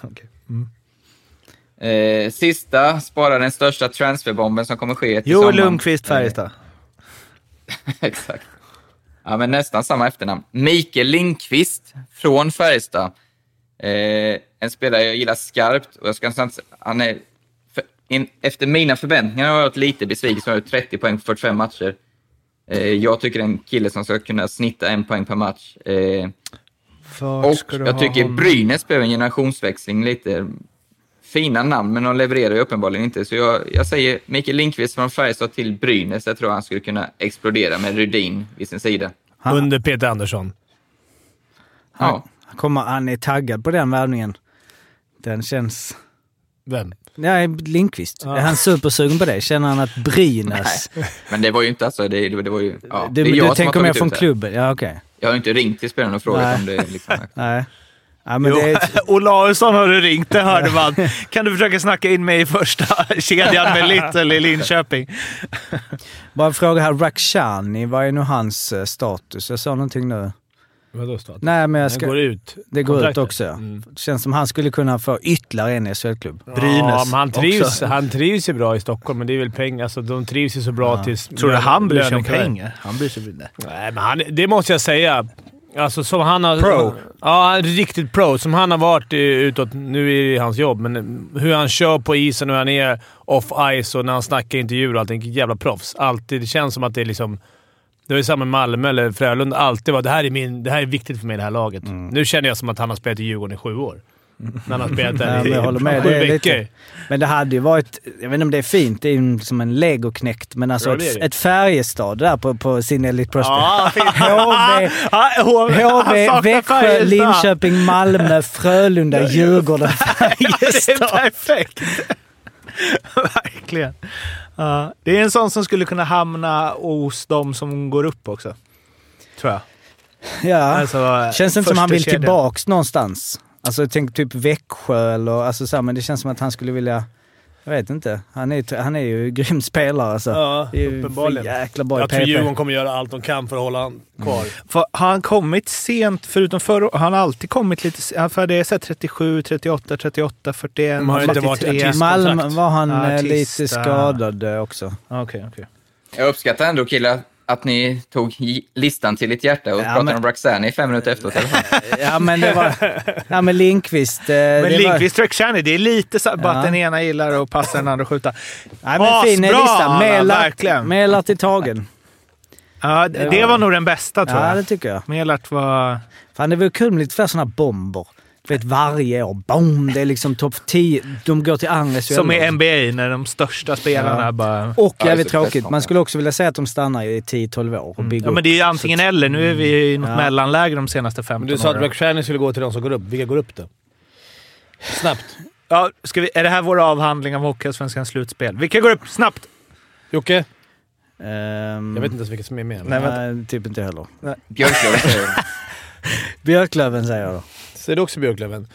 S2: okej.
S1: Eh, sista, spara den största transferbomben som kommer ske till
S2: Joel
S1: sommaren.
S2: Lundqvist, Färjestad.
S1: Exakt. Ja, men nästan samma efternamn. Mikael Lindqvist från Färjestad. Eh, en spelare jag gillar skarpt och jag ska inte säga- han är, för, in, efter mina förväntningar har jag varit lite besviken som har gjort 30 poäng på 45 matcher. Eh, jag tycker det är en kille som ska kunna snitta en poäng per match. Eh,
S2: Vart
S1: och
S2: ska du
S1: jag
S2: ha
S1: tycker
S2: honom?
S1: Brynäs behöver en generationsväxling lite. Fina namn, men de levererar ju uppenbarligen inte. Så jag, jag säger Mikael Lindqvist från Färjestad till Brynäs. Jag tror han skulle kunna explodera med Rudin vid sin sida.
S8: Under Peter Andersson.
S1: Ja.
S9: Han, kommer, han är taggad på den värvningen. Den känns...
S8: Vem?
S9: Nej, Lindqvist. Är han supersugen på det? Känner han att Brynäs...
S1: Men det var ju inte alltså, det, det, det var ju... Ja,
S9: du
S1: det är
S9: du
S1: jag som har
S9: tänker mer
S1: tagit ut
S9: från
S1: det här.
S9: klubben? Ja, okej.
S1: Jag har inte ringt till spelaren och frågat
S9: Nej.
S1: om det är liksom...
S9: Nej. Ja, men det är,
S2: Olausson har du ringt, det hörde man. Kan du försöka snacka in mig i första kedjan med Little i Linköping?
S9: bara en fråga här. Rakhshani, vad är nu hans eh, status? Jag sa någonting nu.
S8: Vadå stat?
S9: Nej, men jag
S8: Han
S9: ska...
S8: går ut.
S9: det går ut
S8: kontraktet.
S9: också, ja.
S2: Mm.
S9: Känns som han skulle kunna få ytterligare en SHL-klubb.
S8: Ja,
S2: Brynäs
S8: men han trivs,
S2: också.
S8: han trivs ju bra i Stockholm, men det är väl pengar. Alltså, de trivs ju så bra tills...
S2: Tror du han bryr sig om
S8: lönekuvert.
S2: pengar? Han bryr sig inte.
S8: Nej, men han, det måste jag säga. Alltså som han har...
S2: Pro.
S8: Ja, han är riktigt pro. Som han har varit eh, utåt. Nu är det hans jobb, men eh, hur han kör på isen, hur han är off-ice och när han snackar i intervjuer och allting. Vilket Jävla proffs. Alltid. Det känns som att det är liksom... Det var ju samma med Malmö eller Frölunda. Alltid var det här är, min, det här är viktigt för mig, det här laget.
S9: Mm.
S8: Nu känner jag som att han har spelat i Djurgården i sju år. När han har spelat
S9: Ja,
S8: där
S9: men
S8: i
S9: jag håller med.
S8: sju
S9: Det är
S8: veckor.
S9: lite- Men det hade ju varit, jag vet inte om det är fint, det är ju som en legoknäckt, men alltså
S8: Ja, det är
S9: ett,
S8: det.
S9: ett Färjestad där på, på sin Elite Prospect.
S2: Ja,
S9: HV,
S2: Ah, HV,
S9: HV,
S2: han saknar
S9: Växjö,
S2: Färjestad.
S9: Linköping, Malmö, Frölunda, Djurgården,
S2: Det är
S9: Färjestad.
S2: perfekt! Verkligen. Ja, det är en sån som skulle kunna hamna hos de som går upp också. Tror jag.
S9: Ja.
S2: Alltså,
S9: Känns inte som han vill
S2: första kedjan.
S9: tillbaks någonstans. Alltså tänk typ Växjö eller alltså så här, men det känns som att han skulle vilja... Jag vet inte. Han är, ju- han är ju grym spelare alltså.
S8: Ja,
S9: Det är ju
S8: uppenbarligen.
S9: för jäkla bra i
S8: jag tror
S9: PP.
S8: Djurgården kommer göra allt de kan för att hålla han kvar.
S2: För, har han kommit sent, förutom förra året, han har alltid kommit lite sen- för det är så här 37, 38, 38, 41,
S8: Men har det inte varit
S2: 43.
S8: artist?
S9: Malmö
S8: kontrakt.
S9: var han eh,
S2: Artista.
S9: lite skadad eh, också.
S2: Ah, Okej, okej.
S1: Jag uppskattar ändå killar att ni tog hi- listan till ert hjärta och
S9: Ja,
S1: pratade
S9: men-
S1: om Roxanne i fem minuter efteråt. i alla fall.
S9: Ja men det var... Ja men Lindqvist. eh, det
S2: Men
S9: var-
S2: Lindqvist och Roxanne, det är lite så bara
S9: Ja.
S2: att den ena gillar att passa den andra och skjuta.
S9: Nej, men fin
S2: Asbra,
S9: lista.
S2: Anna,
S9: Melart,
S2: verkligen.
S9: Melart till tagen.
S2: Ja, det, det var nog den bästa tror
S9: Ja, det
S2: jag.
S9: tycker jag.
S2: Melart var...
S9: Fan, det vore kul med lite fler sådana bomber. Du vet varje år. Boom! Det är liksom topp 10. De går till andra
S2: Som
S9: SHL.
S2: i NBA, när de största spelarna
S9: Ja.
S2: bara...
S9: Och
S1: Ja,
S9: jävligt
S1: det är så
S9: tråkigt. Man skulle också vilja säga att de stannar i 10-12 år och bygger
S2: Mm. Ja, men det är ju antingen eller. Nu är vi ju i något
S9: Ja.
S2: mellanläge de senaste 15
S6: Men du sa att
S2: åren.
S6: McShannon skulle gå till de som går upp. Vilka går upp då? Snabbt.
S2: Ja, ska vi, är det här vår avhandling av Hockeyallsvenskans slutspel? Vilka går upp snabbt?
S6: Jocke?
S9: upp. Ehm,
S6: Jag vet inte ens vilka som är med.
S9: Nej, vänta. typ inte heller.
S1: Björklöven säger jag.
S9: Björklöven säger jag då.
S6: Säger du också Björklöven?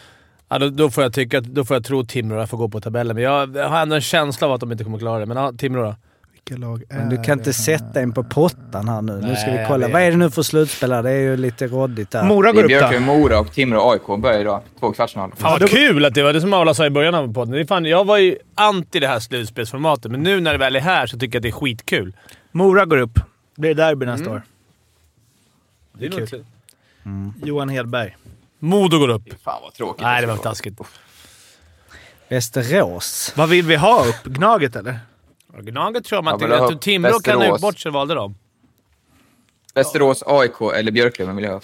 S6: Ja, då, då, får jag tycka, att- då får jag tro att Timrå där får gå på tabellen. Men jag, jag har ändå en känsla av att de inte kommer klara det. Men ja, Timrå då?
S2: Vilka lag är
S9: Men du kan inte sätta in på pottan här nu. Nu ska
S6: Nej,
S9: vi
S6: jag
S9: kolla.
S6: vet.
S9: Vad är det nu för slutspel här? Det är ju lite råddigt där.
S1: Det
S2: Mora går
S1: är
S2: upp då.
S1: Björklöven, Mora och Timrå och AIK börjar idag. Två kvartsfinaler.
S6: Fan vad kul att det var det som Aula sa i början av podden. Det är fan, jag var ju anti det här slutspelsformatet, men nu när det väl är här så tycker jag att det är skitkul.
S2: Mora går upp. Blir det derby
S6: Mm.
S2: nästa år.
S6: Det är
S2: kul.
S6: kul.
S2: Johan Hedberg.
S6: Modo går upp.
S1: Fan vad tråkigt.
S6: Nej, det var taskigt.
S9: Västerås.
S2: Vad vill vi ha upp? Gnaget eller?
S6: Gnaget tror jag man
S1: Ja, men
S6: tycker
S1: då
S6: att
S1: har
S6: Timrå kan ha gjort
S1: Västerås.
S6: bort sig valde de.
S1: Västerås, AIK eller Björklöven vill jag ha.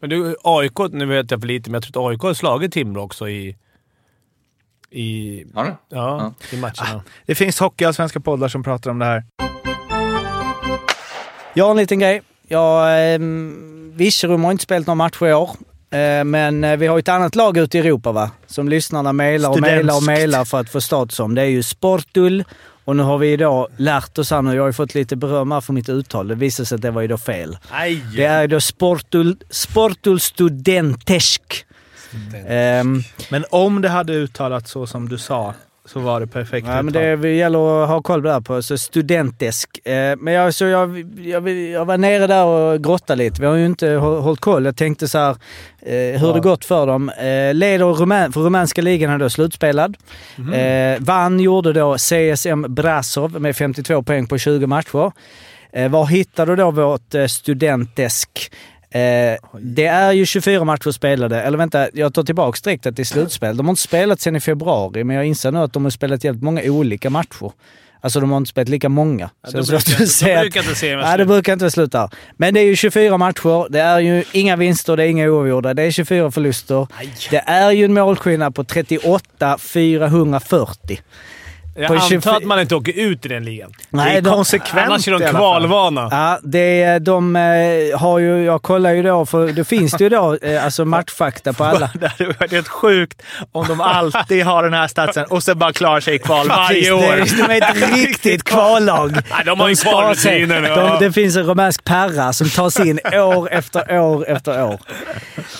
S6: Men du, AIK, nu vet jag för lite, men jag tror att AIK har slagit Timrå också i... I...
S1: Har ni?
S6: Ja, i matcherna.
S2: Det finns hockeyallsvenska poddar som pratar om det här.
S9: Jag har en liten grej. Jag, eh, Virserum har inte spelat några matcher i år. Eh, men eh, vi har ju ett annat lag ute i Europa va? Som lyssnarna mejlar och mejlar och
S2: Studentskt.
S9: mejlar för att få status om. Det är ju Sportul. Och nu har vi idag lärt oss här nu. Jag har ju fått lite beröm här för mitt uttal. Det visade sig att det var ju då fel.
S6: Nej!
S9: Ah. Det är då Sportul, Sportul Studentesk. Ehm,
S2: Men om det hade uttalats så som du sa så var det perfekt
S9: Ja, men det vi gäller att ha koll på det här på, så studentesk. Eh, Men jag, så jag, jag, jag var nere där och grottade lite. Vi har ju inte hå- hållit koll. Jag tänkte så här, eh, hur det gått för dem. Eh, Leder Rumän, för rumänska ligan är då slutspelad. Eh, vann gjorde då CSM Brasov med 52 poäng på 20 matcher. Eh, var hittade du då vårt eh, studentesk? Eh, det är ju 24 matcher spelade, eller vänta, jag tar tillbaka direkt att det är slutspel. De har inte spelat sedan i februari, men jag inser nu att de har spelat jävligt många olika matcher. Alltså de har inte spelat lika många.
S6: Ja,
S9: Så
S6: då
S9: det är svårt
S6: brukar-
S9: att
S6: då
S9: säga
S6: brukar
S9: att-
S6: inte serien vara
S9: Nej, det
S6: slut.
S9: brukar inte vara slut där. Men det är ju 24 matcher, det är ju inga vinster, det är inga oavgjorda, det är 24 förluster. Det är ju en målskillnad på 38 440.
S6: Jag
S9: På
S6: antar
S9: 24
S6: att man inte åker ut i den ligan.
S9: Nej,
S2: är
S9: de-
S2: konsekvent
S6: Annars är
S2: i
S6: de
S2: alla fall. Ah.
S6: kvalvana.
S9: Ja, det, är- de eh, har ju, jag kollar ju då, för det finns det ju då eh, alltså matchfakta på alla.
S2: Det hade varit helt sjukt om de alltid har den här statsen och sen bara klarar sig i kval varje
S9: Precis,
S2: år.
S9: det- De är ett riktigt kvallag.
S6: Nej, de har ju
S9: ska sig.
S6: kvalrutiner nu.
S9: De, det finns en rumänsk perra som tas in år efter år efter år.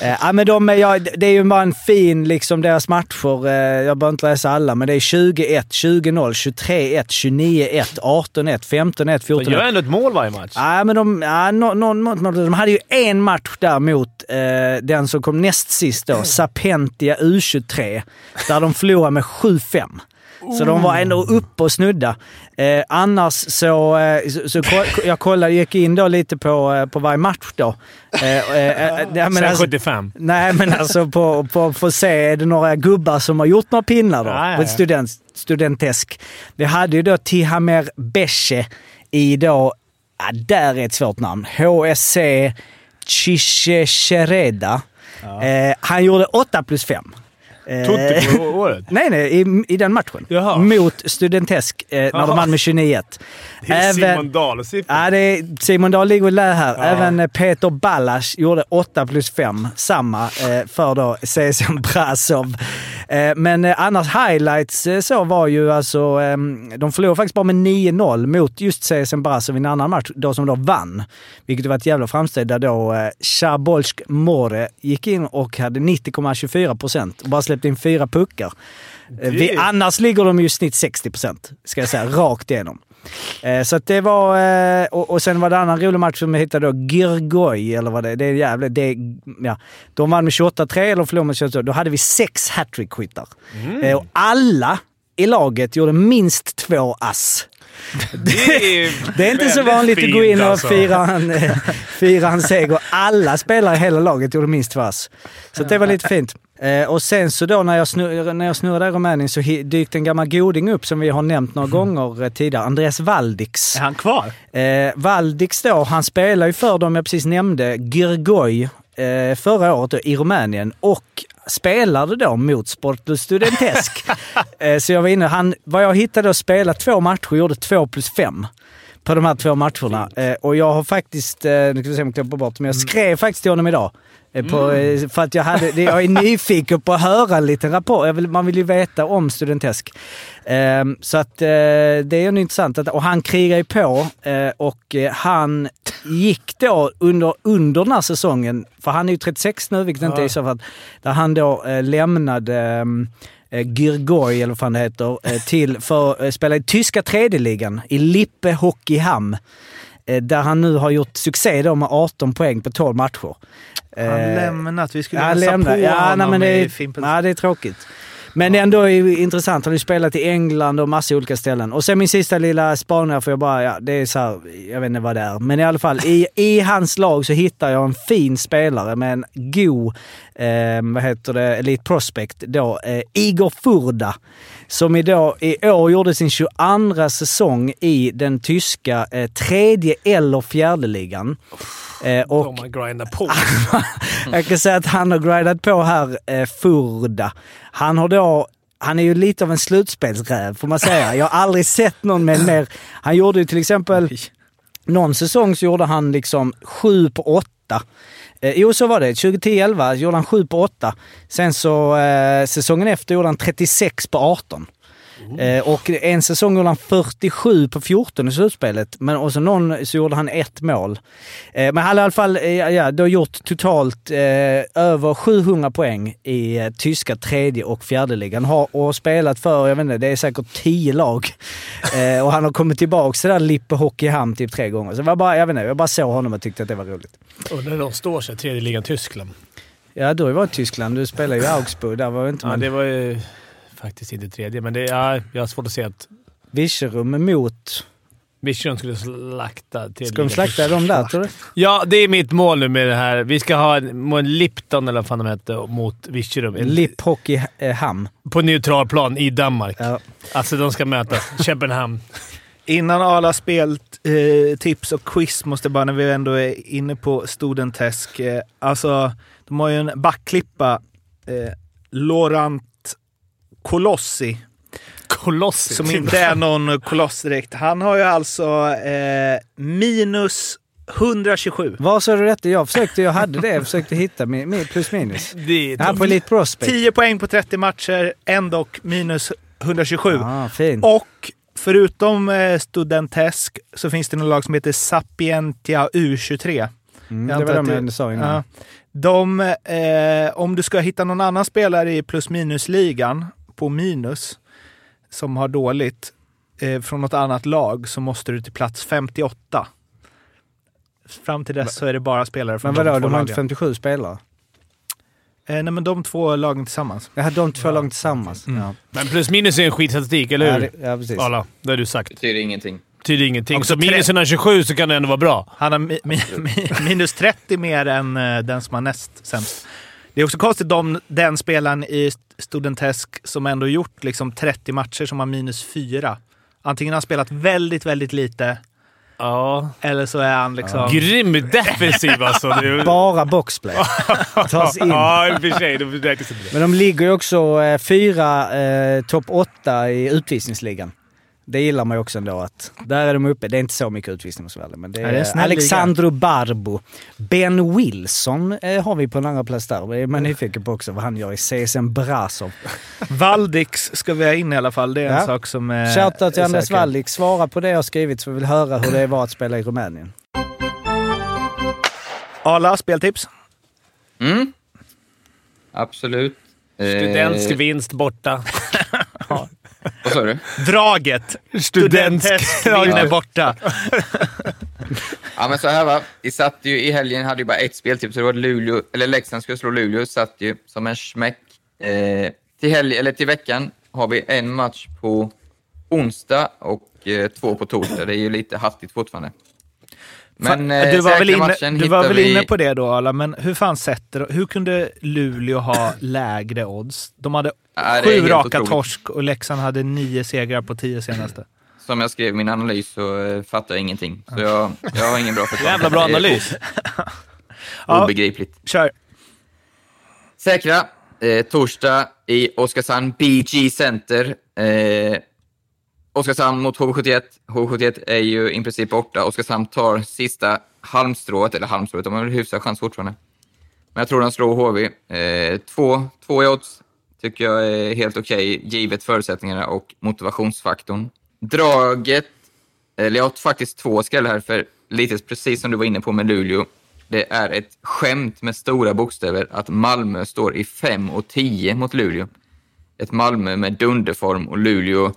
S9: Eh, ja, men de är, ja, det är ju bara en fin, liksom deras matcher. Eh, jag behöver inte läsa alla, men det är 20-1, 20-0, 23-1, 29-1, 18-1, 15-1, 14-1.
S6: De gör ändå ett mål varje match.
S2: Ah,
S9: Ja, men de, ja, no, no, no, no, de hade ju en match där mot eh, den som kom näst sist då, Sapentia U23, där de förlorade med 7-5. Så de var ändå uppe och snudda. Eh, annars så, eh, så, så ko- jag kollade, gick in då lite på, eh, på varje match då. Eh, eh, eh, ja, men
S6: Sen
S9: alltså-
S6: 75.
S9: Nej, men alltså på, på, på se, är det några gubbar som har gjort några pinnar då?
S6: Ja, ja,
S9: På ett
S6: ja.
S9: student, studentesk. Vi hade ju då Tihamer Beshe i då, ja, där är ett svårt namn, HSC Chichechereda. Eh, han gjorde 8 plus 5.
S6: Totti på
S2: Eh,
S6: året.
S9: Nej, nej, i, i den matchen.
S6: Jaha.
S9: Mot Studentesk eh, när de vann med 21
S8: Det är Simon
S2: Ah.
S8: Dahl-siffror.
S9: Ja, det är, Simon Dahl ligger och lär här. Även eh, Peter Ballas gjorde 8 plus 5, samma eh, för då CSM Brasov. Eh, men eh, annars highlights eh, så var ju alltså, eh, de förlorade faktiskt bara med 9-0 mot just CSM Brasov i en annan match, då som då vann. Vilket var ett jävla framsteg där då eh, Chabolsk More gick in och hade 90,24 procent och bara släppt in fyra puckar. Eh, Vi, annars ligger de ju i snitt 60 procent, ska jag säga, rakt igenom. Eh, Så att det var... eh, Och, och sen var det en annan rolig match som jag hittade då, Girgoy, eller vad det är. Det är jävligt... Det, är- ja. De vann med 28-3, eller förlorade med 28 Då hade vi sex hattrick-skyttar. Eh, Och alla i laget gjorde minst två ass.
S8: Det är,
S9: Det är inte så
S8: väldigt
S9: vanligt att
S8: fint,
S9: gå in och
S8: alltså.
S9: fira, en, eh, fira en seger. Alla spelare i hela laget gjorde minst tvärs. Så det var lite fint. Eh, och sen så då när jag, snur, när jag snurrade i Rumänien så hi- dykte en gammal goding upp som vi har nämnt några gånger eh, tidigare. Andreas Valdix.
S11: Är han kvar?
S9: Eh, Valdix då, han spelar ju för dem jag precis nämnde, Girgoi, eh, förra året då, i Rumänien. Och spelade då mot Sportlus Studentesk. eh, så jag var inne, han, vad jag hittade att spela två matcher, gjorde två plus fem på de här två matcherna. Eh, och jag har faktiskt, eh, nu ska vi se om jag klipper bort, men jag skrev faktiskt till honom idag. eh, På, eh, För att jag, hade, det- jag är nyfiken på att höra en liten rapport. Jag vill, man vill ju veta om Studentesk. Eh, så att eh, det är ju intressant. Att, och han krigar ju på eh, och eh, han gick då under, under den här säsongen, för han är ju 36 nu vilket inte är så för att, där han då eh, lämnade ehm, eh, Girgoy, eller vad fan det heter, eh, till för att eh, spela i tyska tredje ligan i Lippe Hockeyham. Eh, där han nu har gjort succé då med 18 poäng på 12 matcher.
S2: Han
S9: Eh,
S2: lämnat. Vi skulle
S9: ja,
S2: hälsa
S9: lämna.
S2: på
S9: ja,
S2: honom
S9: nej, men det
S2: i
S9: är,
S2: Fimpen.
S9: ja, det är tråkigt. Men ändå är det intressant. Han har ju spelat i England och massa olika ställen. Och sen min sista lilla spaning här, för jag bara, ja, det är så här, jag vet inte vad det är. Men i alla fall, i, i hans lag så hittar jag en fin spelare med en god, eh, vad heter det, Elite Prospect då, eh, Igor Furda. Som idag, i år gjorde sin 22 säsong i den tyska eh, tredje eller fjärde ligan. Eh, och
S8: De har grindat på.
S2: Ah.
S9: jag kan säga att han har grindat på här, eh, Furda. Han har då han är ju lite av en slutspelsräv får man säga. Jag har aldrig sett någon med en mer... Han gjorde ju till exempel... Någon säsong så gjorde han liksom 7 på 8. Eh, jo, så var det. 2010-11 gjorde han 7 på 8. Sen så eh, säsongen efter gjorde han 36 på 18. Eh, och en säsong gjorde han 47 på 14 i slutspelet. Men och så någon så gjorde han ett mål. Eh, men han har i alla fall eh, ja, då gjort totalt eh, över 700 poäng i eh, tyska tredje och fjärde ligan. Har, och har spelat för, jag vet inte, det är säkert 10 lag. Eh, och han har kommit tillbaka till det där Lippe Hockeyhamn typ tre gånger. Så det var bara, jag vet inte, jag bara såg honom och tyckte att det var roligt.
S8: Undrar hur de står sig. Tredje ligan Tyskland.
S9: Ja, du var i Tyskland. Du spelade ju i Augsburg. Där var det inte
S8: Ja,
S9: man...
S8: det var ju faktiskt inte tredje, men det, ja, jag har svårt att se att
S9: Virserum mot...
S8: Michigan skulle slakta tredje
S9: Ska de
S8: ligan.
S9: slakta dem där tror du?
S8: Ja, det är mitt mål nu med det här. Vi ska ha en, må en Lipton, eller vad fan de hette, mot Virserum. En-
S9: Lipp Hockeyhamn.
S8: På neutral plan i Danmark.
S9: Ja.
S8: Alltså, de ska mötas. Köpenhamn.
S2: Innan alla speltips och quiz måste bara, när vi ändå är inne på Studentesk. Eh, alltså, de har ju en backklippa. Eh, Laurent Colossi,
S8: Kolossi.
S2: som inte är någon koloss direkt. Han har ju alltså eh, minus 127.
S9: Vad sa du detta? Jag försökte, jag hade det, jag försökte hitta min, min plus minus.
S8: Det är
S9: Här på Elite Prospect.
S2: 10 poäng på 30 matcher, ändå minus 127.
S9: Ah, fint.
S2: Och förutom eh, Studentesk så finns det något lag som heter Sapientia U23.
S9: Mm,
S2: jag
S9: det
S2: antar
S9: var de
S2: att det-
S9: jag sa innan.
S2: Ja. De, eh, om du ska hitta någon annan spelare i plus minus-ligan på minus som har dåligt eh, från något annat lag så måste du till plats 58. Fram till dess så är det bara spelare från
S9: Men vadå,
S2: de två
S9: de har
S2: lagen.
S9: inte 57 spelare?
S2: eh, nej, men de två lagen tillsammans.
S9: Jag hade de två långt tillsammans.
S2: Mm.
S9: Ja,
S8: Men plus minus är en skitstatistik, eller
S9: ja,
S8: hur?
S9: det, ja precis.
S8: Alla, det har du sagt.
S1: Betyder ingenting.
S8: Betyder ingenting.
S2: Också
S8: Så minus
S2: tre-
S8: 127 så kan det ändå vara bra.
S2: Han har mi, mi, mi, minus 30 mer än eh, den som har näst sämst. Det är också konstigt om den spelaren i Studentesk som ändå gjort liksom 30 matcher som har minus 4. Antingen har han spelat väldigt, väldigt lite
S8: Ja.
S2: eller så är han liksom...
S8: Grym defensiv alltså. Det är-
S9: Bara boxplay. Tas in.
S8: Ja, i och för sig. Det räknas inte.
S9: Men de ligger ju också eh, fyra eh, topp åtta i utvisningsligan. Det gillar man ju också ändå att... Där är de uppe. Det är inte så mycket utvisning hos Valle, men det
S2: det är en
S9: är
S2: snäll
S9: Alexandro Barbo. Ben Wilson eh, har vi på en andra plats där. Det är
S2: Mm.
S9: man nyfiken på också vad han gör i CSN Brasov.
S2: Valdix ska vi ha in i alla fall. Det är en
S9: Ja.
S2: sak som... eh,
S9: Shoutout till
S2: är
S9: Anders
S2: säker.
S9: Wallik. Svara på det jag skrivit så vi vill höra hur det var att spela i Rumänien.
S2: Arla, speltips?
S1: Mm. Absolut.
S8: Studentsk vinst borta.
S1: Vad sa du?
S2: Draget! Studentsk
S1: vinst.
S2: är borta.
S1: Ja, men så här va. Vi satt ju i helgen, hade ju bara ett spel, typ, så det var Luleå, eller Leksand skulle slå Luleå, satt ju som en smäck. Eh, till helg, eller till veckan har vi en match på onsdag och eh, två på torsdag. Det är ju lite hattigt fortfarande. Men eh,
S2: du var
S1: säkra
S2: väl
S1: matchen
S2: inne, du var
S1: hittar
S2: väl
S1: vi-
S2: inne på det då, Arla, men hur fan sätter Hur kunde Luleå ha lägre odds? De hade
S1: Ja, det är
S2: sju
S1: helt
S2: raka
S1: otroligt.
S2: torsk och Leksand hade nio segrar på tio senaste.
S1: Som jag skrev i min analys så eh, fattar jag ingenting. Så jag, jag har ingen bra förklaring.
S2: Jävla bra
S1: Det är
S2: analys.
S1: o-
S2: Ja.
S1: Obegripligt.
S2: Kör!
S1: Säkra. Eh, torsdag i Oskarshamn BG Center. Eh, Oskarshamn mot HV71. HV71 är ju i princip borta. Oskarshamn tar sista halmstrået, eller halmstrået, de har väl hyfsad chans fortfarande. Men jag tror de slår HV. Eh, två, två i odds tycker jag är helt okej, givet förutsättningarna och motivationsfaktorn. Draget, eller jag har faktiskt två skrällar här, för lite precis som du var inne på med Luleå, det är ett skämt med stora bokstäver att Malmö står i 5 och 10 mot Luleå. Ett Malmö med dunderform och Luleå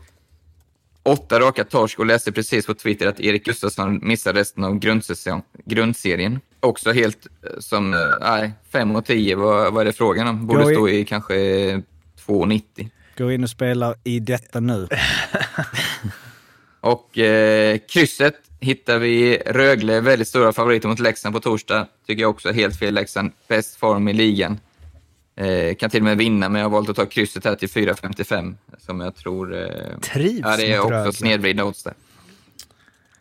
S1: åtta raka torsk och läste precis på Twitter att Erik Gustafsson missar resten av grundsäsong, grundserien. Också helt eh, som, eh, nej, 5 och 10, vad, vad är det frågan om? Borde
S9: Jag är-
S1: stå i kanske 2,90.
S9: Går in och spelar i detta nu.
S1: Och eh, krysset hittar vi Rögle, väldigt stora favoriter mot Leksand på torsdag. Tycker jag också är helt fel. Leksand, bäst form i ligan. Eh, kan till och med vinna, men jag har valt att ta krysset här till 4,55 som jag tror... Eh,
S2: Trivs
S1: ja, det är
S2: med Rögle.
S1: också snedvridna odds där.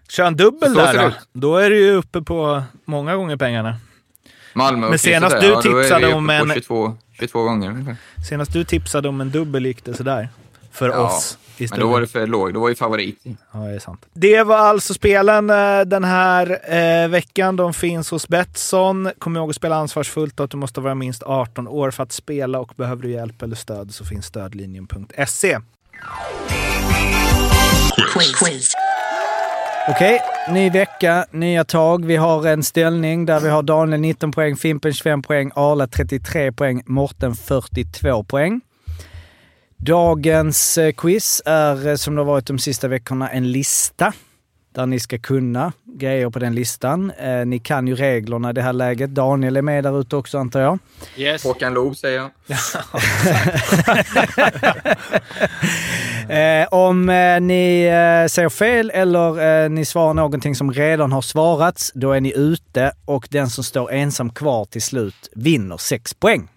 S2: Kör en dubbel
S1: Så
S2: där
S1: ser det
S2: då.
S1: ut.
S2: Då är du ju uppe på många gånger pengarna.
S1: Malmö och
S2: Men
S1: krysset
S2: senast
S1: där,
S2: du
S1: ja, då är vi
S2: tipsade
S1: uppe
S2: om
S1: på
S2: en-
S1: 22, 22 gånger ungefär.
S2: Senast du tipsade om en dubbel gick det sådär. För oss. i
S1: men då var
S2: studion.
S1: det för låg. Då var ju favorit.
S2: Ja, det är sant. Det var alltså spelen eh, den här eh, veckan. De finns hos Betsson. Kom ihåg att spela ansvarsfullt och att du måste vara minst 18 år för att spela och behöver du hjälp eller stöd så finns stödlinjen.se.
S9: Okej, ny vecka, nya tag. Vi har en ställning där vi har Daniel 19 poäng, Fimpen 25 poäng, Arla 33 poäng, Morten 42 poäng. Dagens eh, quiz är eh, som det har varit de sista veckorna en lista där ni ska kunna grejer på den listan. Eh, ni kan ju reglerna i det här läget. Daniel är med där ute också antar jag.
S7: Yes.
S1: Håkan Loob säger jag.
S9: Eh, om eh, ni eh, säger fel eller eh, ni svarar någonting som redan har svarats, då är ni ute och den som står ensam kvar till slut vinner 6 poäng.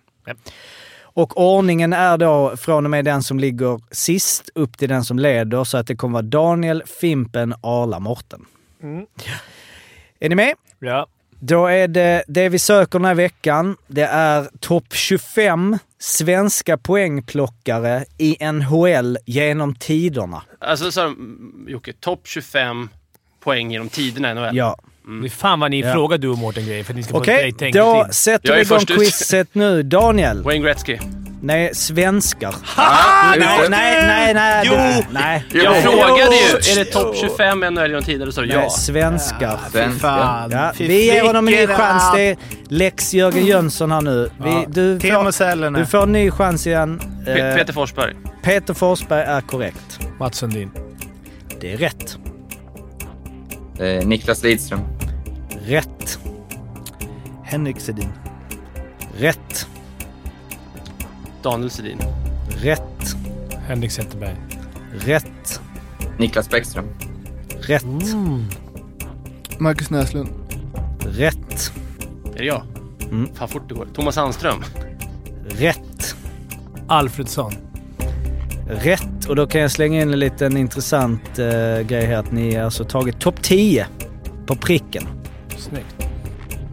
S9: Och ordningen är då från och med den som ligger sist upp till den som leder så att det kommer vara Daniel, Fimpen, Arla, Morten. Ja. Är ni med?
S8: Ja.
S9: Då är det det vi söker den här veckan. Det är topp 25 svenska poängplockare i NHL genom tiderna.
S7: Alltså så mm, Jocke, topp 25 poäng genom tiderna i NHL.
S9: Ja.
S8: Det är fan vad ni
S9: Ja.
S8: frågar du och Mårten grejer för att ni ska få
S9: Okej,
S8: ett tänk
S9: då
S8: till.
S9: sätter
S7: Jag
S9: vi
S7: är
S9: igång
S7: först ut.
S9: quizet nu. Daniel.
S7: Wayne Gretzky.
S9: Nej, svenskar.
S1: Ah,
S9: Nej, nej, nej. nej
S2: Jo!
S9: det- Nej,
S7: Jag
S1: Jo.
S7: frågade ju, är det topp 25 NHL genom tiderna? Då sa du
S9: nej,
S7: ja.
S9: svenskar.
S1: Svenska.
S9: Ja, vi ger honom en ny chans. Det är Lex Jörgen Jönsson här nu. Vi, du,
S2: Teemu
S9: får,
S2: Selänne.
S9: du får en ny chans igen. Eh,
S7: Pe- Peter Forsberg.
S9: Peter Forsberg är korrekt.
S8: Mats Sundin.
S9: Det är rätt.
S1: Eh, Niklas Lidström.
S9: Rätt.
S2: Henrik Sedin.
S9: Rätt.
S7: Daniel Sedin.
S9: Rätt.
S8: Henrik Zetterberg.
S9: Rätt.
S1: Niklas Bäckström.
S9: Rätt.
S5: Marcus Näslund.
S9: Rätt.
S7: Är det jag?
S9: Mm.
S7: Fan fort det går. Thomas Sandström.
S9: Rätt.
S8: Alfredsson.
S9: Rätt. Och då kan jag slänga in en liten intressant eh, grej här. Att ni har alltså tagit topp 10 på pricken.
S8: Snyggt.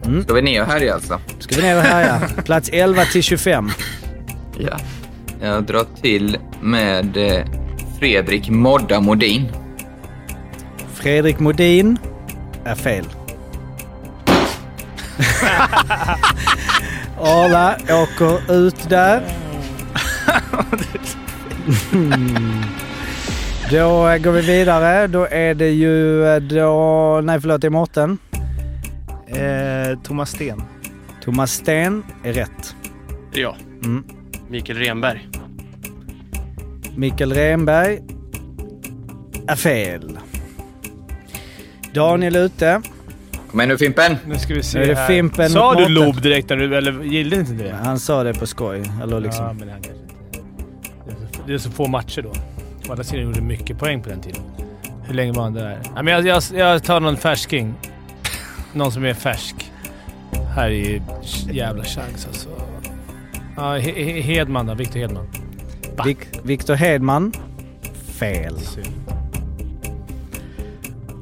S2: Mm.
S1: Ska vi ner här i alltså?
S9: Ska vi ner och härja? Plats 11 till 25.
S1: Ja. Jag drar till med eh, Fredrik Modda Modin.
S9: Fredrik Modin är fel. Arla åker ut där. Mm. Då eh, går vi vidare. Då är det ju eh, då... Nej, förlåt. Det är Mårten.
S2: Eh, Thomas Sten.
S9: Thomas Sten är rätt.
S7: Är det jag? Mm. Mikael Renberg.
S9: Mikael Renberg är fel. Daniel är ute.
S1: Kom igen nu Fimpen!
S8: Nu ska vi
S9: se Nu är det här. Fimpen
S8: Sa
S9: mot
S8: du
S9: maten.
S8: lob direkt när du... Eller gillade inte det?
S9: Han sa det på skoj. Eller liksom.
S8: Ja, men han kanske inte... Det är så- Det är så få matcher då. Å andra sidan gjorde mycket poäng på den tiden. Hur länge var han där? Ja, men jag, jag, jag tar någon färsking. Någon som är färsk. Här är ju jävla chans alltså. Ja, He- He- Hedman då. Viktor Hedman.
S9: Vik- Viktor Hedman. Fel.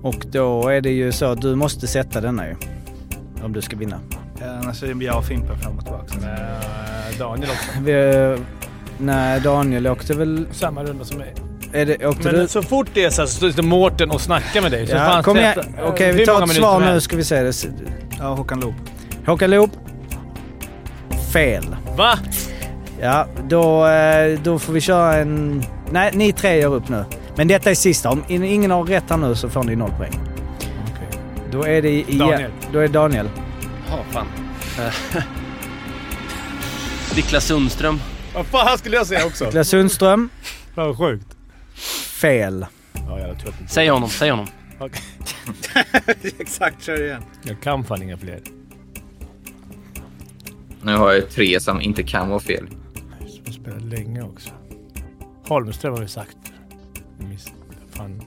S9: Och då är det ju så att du måste sätta denna ju. Om du ska vinna.
S2: Eh, Annars är det jag och Fimpen fram och tillbaka.
S8: Eh, Daniel också.
S9: Vi, nej, Daniel åkte väl...
S8: Samma runda som mig.
S9: Är det, åkte
S8: Men
S9: du?
S8: så fort det är så här så sitter Mårten och snackar med dig. Så
S9: Ja,
S8: fan,
S9: kom igen.
S8: sätta-
S9: Okej,
S8: hur
S9: vi tar
S8: många
S9: ett
S8: minuter
S9: svar
S8: som
S9: nu
S8: helst.
S9: ska vi se. Det.
S2: Ja, Håkan Loob.
S9: Håkan Loop. Fel.
S8: Va?
S9: Ja, då, eh, då får vi köra en... Nej, ni tre gör upp nu. Men detta är sista. Om in- ingen har rätt här nu så får ni noll poäng. Då är det igen.
S7: Daniel.
S9: Då är det Daniel.
S7: Ja, fan. Eh, Niklas Sundström.
S8: Vad fan skulle jag säga också?
S9: Niklas Sundström.
S8: Fan vad sjukt.
S9: Fel.
S8: Ja, jävla tur att inte-
S7: Säg honom, säg honom.
S8: Okej.
S2: Exakt, kör igen.
S8: Jag kan fan inga fler.
S1: Nu har jag tre som inte kan vara fel.
S8: Jag spelat länge också. Holmström har vi sagt. Jag miss- Fan.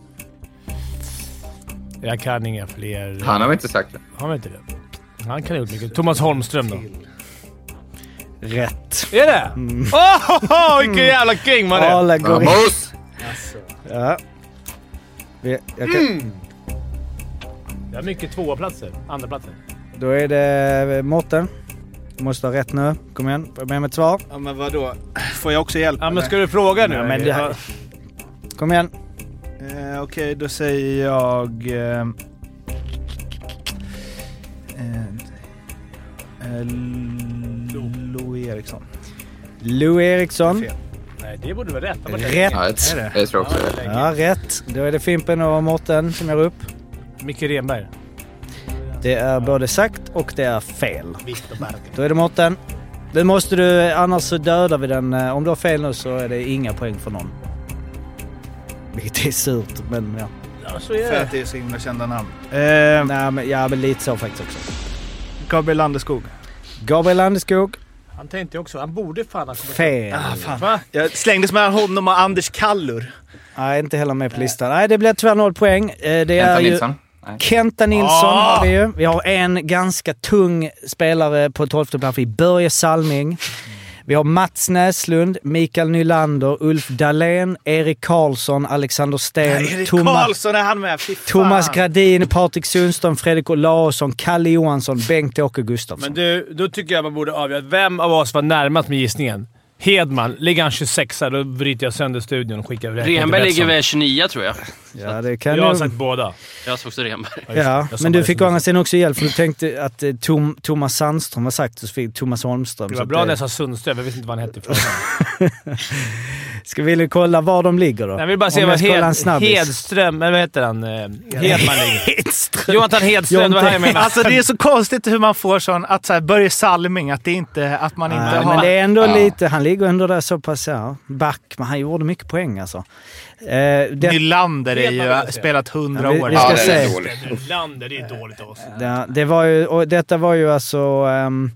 S8: Jag kan inga fler.
S1: Han har väl inte sagt det?
S8: Har vi inte det? Han kan ha gjort mycket. Thomas Holmström då?
S9: Rätt.
S8: Är det?
S9: Mm.
S8: Åh, vilken jävla king man är!
S9: Alla går in.
S1: Vamos!
S9: Ja. Vi- Jag kan,
S8: Det är mycket tvåaplatser. Andraplatser.
S9: Då är det eh, Mårten. Du måste ha rätt nu. Kom igen. Får jag med mig ett svar?
S2: Ja, men vadå? Får jag också hjälp?
S8: Ja,
S2: eller?
S8: men ska du fråga nu?
S9: Ja, men det här- Kom igen.
S2: Eh, Okej, då säger jag... Eh, eh, eh, Lo Eriksson.
S9: Lou Eriksson.
S2: Fel.
S8: Nej, det borde vara rätt. Han var där.
S9: Rätt.
S1: Ja, jag, jag tror också det.
S9: Ja, rätt. Då är det Fimpen och Mårten som gör upp.
S8: Micke Renberg.
S9: Det är både sagt och det är fel. Då är det Mårten. Det måste du, annars så dödar vi den. Eh, Om du har fel nu så är det inga poäng för någon. Vilket är surt, men ja.
S8: Ja, så är
S2: För
S8: det.
S2: att det är så himla kända namn. Eh,
S9: Nej, men, ja, men lite så faktiskt också.
S2: Gabriel Landeskog.
S9: Gabriel Landeskog.
S8: Han tänkte jag också. Han borde fan ha kommit...
S9: Fel.
S8: Va?
S2: Jag slängdes mellan honom och Anders Kallur.
S9: Nej, inte heller med på listan. Nej, det blev tyvärr noll poäng. Eh, Det är
S1: Kenta
S9: ju...
S1: Nilsson.
S9: Kenta Nilsson
S8: Ah!
S9: har vi ju. Vi har en ganska tung spelare på 12 plats i Börje Salming. Vi har Mats Näslund, Mikael Nylander, Ulf Dahlén, Erik Karlsson, Alexander Sten,
S2: Erik
S9: Thomas,
S2: Karlsson är han med. Fy fan.
S9: Thomas Gradin, Patrik Sundström, Fredrik Olausson, Kalle Johansson, Bengt-Åke Gustafsson.
S8: Men du, då tycker jag man borde avgöra vem av oss var närmast med gissningen. Hedman. Ligger han 26 då bryter jag sönder studion och skickar räkningen till
S7: Renberg ligger
S8: Betsson.
S7: väl 29 tror jag.
S9: ja, det kan
S8: Jag har
S9: nog-
S8: sagt båda.
S7: Jag såg också Renberg.
S8: just det.
S9: Ja,
S8: Jag sa
S9: men du
S8: bara
S9: fick å
S8: det.
S9: andra sidan också hjälp för du tänkte att eh, Tom, Thomas Sandström har sagt och så fick Thomas Holmström.
S8: Det
S9: så
S8: var
S9: att eh,
S8: bra
S9: det-
S8: när jag sa Sundström. Jag visste inte vad han hette ifrån.
S9: Ska vi kolla var de ligger då?
S8: Jag vill bara se
S9: Om
S8: vad
S9: jag ska kolla en
S8: Hed,
S9: snabbis.
S8: Hedström... Eller vad heter han? Eh, Hedman ligger.
S9: Hedström.
S8: Jonathan Hedström, det var han jag menade.
S2: Alltså det är så konstigt hur man får sån, att så här, Börje Salming, att, det inte, att man inte
S9: Nej,
S2: har...
S9: men det är ändå
S1: Ja.
S9: lite... Han ligger ändå där så pass... Ja, back, men han gjorde mycket poäng alltså. Eh, det,
S2: Nylander är ju,
S8: Hedman vill jag se.
S2: spelat hundra
S9: Ja, vi-
S2: år.
S9: vi ska
S1: Ja, det
S9: se.
S1: är dåligt.
S8: Nylander, det är dåligt av oss.
S9: det, det var ju, och detta var ju alltså ehm,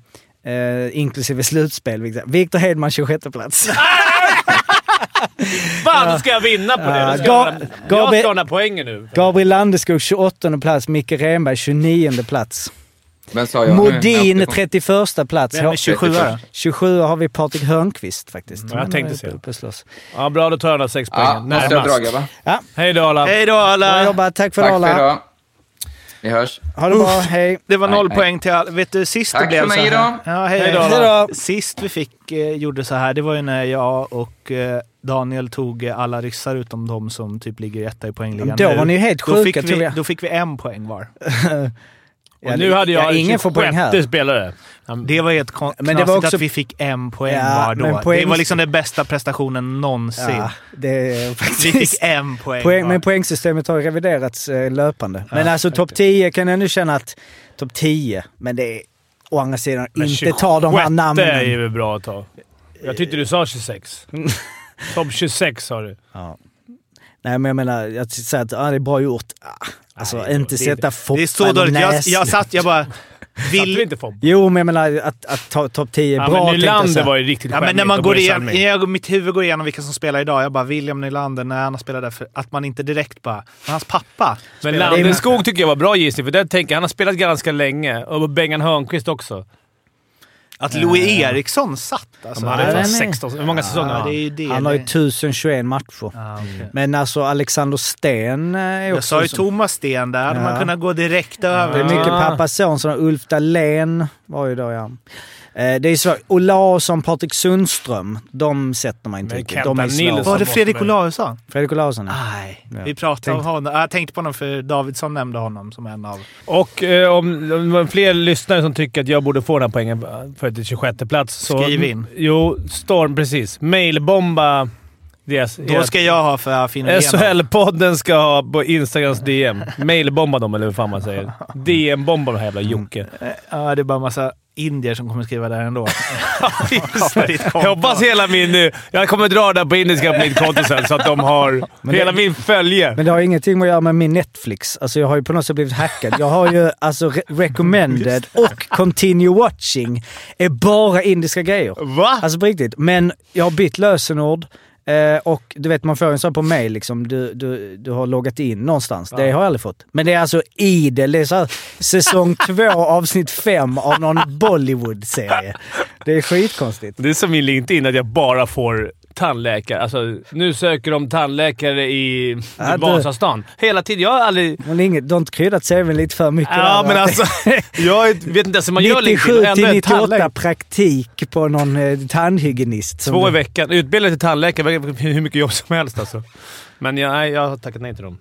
S9: eh, inklusive slutspel. Victor- Victor Hedman 26 plats.
S8: Fan, då ska jag vinna på det! Då ska
S9: Ja, Ga-
S8: jag, vinna. jag
S9: Gabi-
S8: ska ha den här poängen nu.
S9: Gabriel Landeskog 28 plats. Micke Renberg 29 plats.
S1: Vem sa jag nu? Jag
S9: Modin
S1: åkte på-
S9: 31 plats.
S2: Vem är 27 då?
S9: 27 har vi Patrik Hörnqvist faktiskt.
S8: Ja, jag
S9: Men,
S8: tänkte
S9: eh,
S8: se.
S9: uppe och slåss.
S8: Ja, bra. Då tar jag de sex
S1: Ja,
S8: poängen.
S1: måste jag dra
S8: Närmast.
S1: grabbar.
S8: Hej då, alla.
S2: Hej då
S9: Bra
S2: alla!
S9: jobbat, tack för
S1: Tack för
S9: alla.
S1: idag. Vi hörs.
S9: Ha det bra, hej.
S2: Det var
S1: Nej,
S2: noll
S1: nej.
S2: poäng till alla. Vet du, sist det
S1: Tack
S2: blev
S1: för mig
S2: så här.
S1: då.
S2: Ja, hej,
S8: Hej då,
S2: hej.
S9: alla. Hej
S2: Sist vi fick, eh, gjorde så här, det var ju när jag och eh, Daniel tog eh, alla ryssar utom de som typ ligger etta i poängligan
S9: Då
S2: nu.
S9: var ni ju helt
S2: då
S9: sjuka
S2: fick,
S9: tror
S2: vi,
S9: jag.
S2: då fick vi en poäng var.
S9: Ja,
S8: Och nu hade
S9: ja,
S8: jag
S9: ingen får poäng här.
S8: 26 spelare. Ja, men-
S2: Det var helt kon-
S9: Men det var
S2: knasigt
S9: också-
S2: att vi fick en poäng
S9: Ja,
S2: var
S9: men
S2: då.
S9: poäng-
S2: Det var liksom den bästa prestationen någonsin.
S9: Ja, det är
S2: Vi
S9: faktiskt...
S2: fick en poäng,
S9: Poäng,
S2: var.
S9: men poängsystemet har reviderats eh, löpande. Men alltså topp 10 kan jag nu känna att... Topp 10, men det är å andra sidan
S8: men
S9: inte ta de här
S8: 26 är
S9: namnen.
S8: ju bra att ta. Jag tyckte du sa 26. Topp 26 sa du.
S9: Ja. Nej, men jag menar, att säga att ah, det är bra gjort. Ah, Alltså, inte sätta Foppa
S2: Det är så dåligt. Jag, jag satt, jag bara... Vill...
S8: inte Foppa?
S9: Jo, men jag menar att, att ta topp 10 är bra.
S8: Ja, men
S9: tänkte jag
S8: Nylander
S9: säga.
S8: var ju riktigt
S2: Ja, men när
S8: skämmigt
S2: man
S8: och
S2: går
S8: Börje
S2: igen,
S8: Salming.
S2: jag, mitt huvud går igenom vilka som spelar idag. Jag bara, William Nylander, när han spelar där, för att man inte direkt bara... Men hans pappa
S8: Men
S2: spelade-
S8: Landeskog tycker jag var bra gissning, för där tänker jag, han har spelat ganska länge. Och Bengan Hörnqvist också.
S2: Att Louis Eriksson satt alltså.
S8: Han hade fan
S9: nej, nej.
S8: 16... Hur många säsonger
S2: Ja,
S8: har
S2: det är
S8: han?
S2: ju det.
S9: Han har ju 1021 matcher. Men alltså Alexander Sten eh, är också...
S2: Jag sa ju
S9: som-
S2: Thomas Sten där. Hade
S9: Ja.
S2: man kunnat gå direkt över.
S9: Det är mycket
S8: Ah.
S9: pappa son. som Ulf Dahlén var ju då, ja. Eh, Det är så. Olausson, Patrik Sundström, de sätter man inte
S8: Men
S9: riktigt.
S8: Kenta
S9: De är
S8: Nilsson.
S9: svåra.
S2: Var det Fredrik Olausson?
S9: Fredrik Olausson, ja.
S2: Nej,
S9: Ja.
S2: vi pratade
S9: Tänk-
S2: om honom. Jag tänkte på honom för Davidsson nämnde honom som en av...
S8: Och eh, om om det var fler lyssnare som tycker att jag borde få den här poängen för att det är 26 plats så...
S2: Skriv in.
S8: Jo, Storm. Precis. Mailbomba deras...
S2: Då ska jag ha för jag finner igenom.
S8: SHL-podden ska ha på Instagrams DM. Mailbomba dem, eller hur fan man säger. DM-bomba de här jävla Jocke.
S2: Mm. Ja, det är bara en massa indier som kommer skriva där ändå.
S8: Jag hoppas hela min... eh, Jag kommer dra det här på indiska på mitt konto sen så att de har
S9: det-
S8: hela min följe.
S9: Men det har ju ingenting att göra med min Netflix. Alltså jag har ju på något sätt blivit hackad. Jag har ju alltså re- recommended och continue watching är bara indiska grejer.
S8: Va?
S9: Alltså på riktigt. Men jag har bytt lösenord. eh, Och du vet, man får en sån på mig liksom. Du, du, du har loggat in någonstans. Det har jag aldrig fått. Men det är alltså idel. Det är så här, säsong två, avsnitt fem av någon Bollywood-serie. Det är skitkonstigt.
S8: Det är som min LinkedIn, att jag bara får tandläkare. Alltså, nu söker de tandläkare i
S9: Ja, du-
S8: Vasastan. Hela tiden. Jag har aldrig...
S9: Men inget, du har inte kryddat CVn lite för mycket.
S8: Ja,
S9: där.
S8: men alltså... Jag är- vet inte ens hur man gör LinkedIn.
S9: 97
S8: Ändå
S9: till
S8: är jag tandläkare.
S9: 98 praktik på någon eh, tandhygienist. som-
S8: Två i veckan. Utbildad till tandläkare. Hur mycket jobb som helst alltså. Men jag, nej, jag har tackat nej till dem.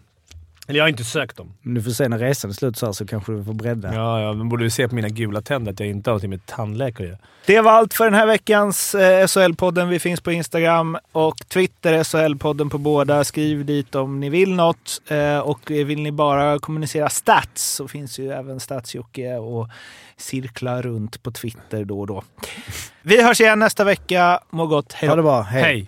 S8: Eller jag har inte sökt dem.
S9: Men Du får se när resan är slut så, här, så kanske du får bredda.
S8: Ja, ja, men borde du se på mina gula tänder att jag inte har någonting med tandläkare att göra.
S2: Det var allt för den här veckans eh, SHL-podden. Vi finns på Instagram och Twitter, SHL-podden på båda. Skriv dit om ni vill något. Eh, och vill ni bara kommunicera stats så finns ju även Statsjocke och cirkla runt på Twitter då och då. Vi hörs igen nästa vecka. Må gott. Hej
S9: Ha
S2: då.
S9: det bra. Hej.
S8: Hej!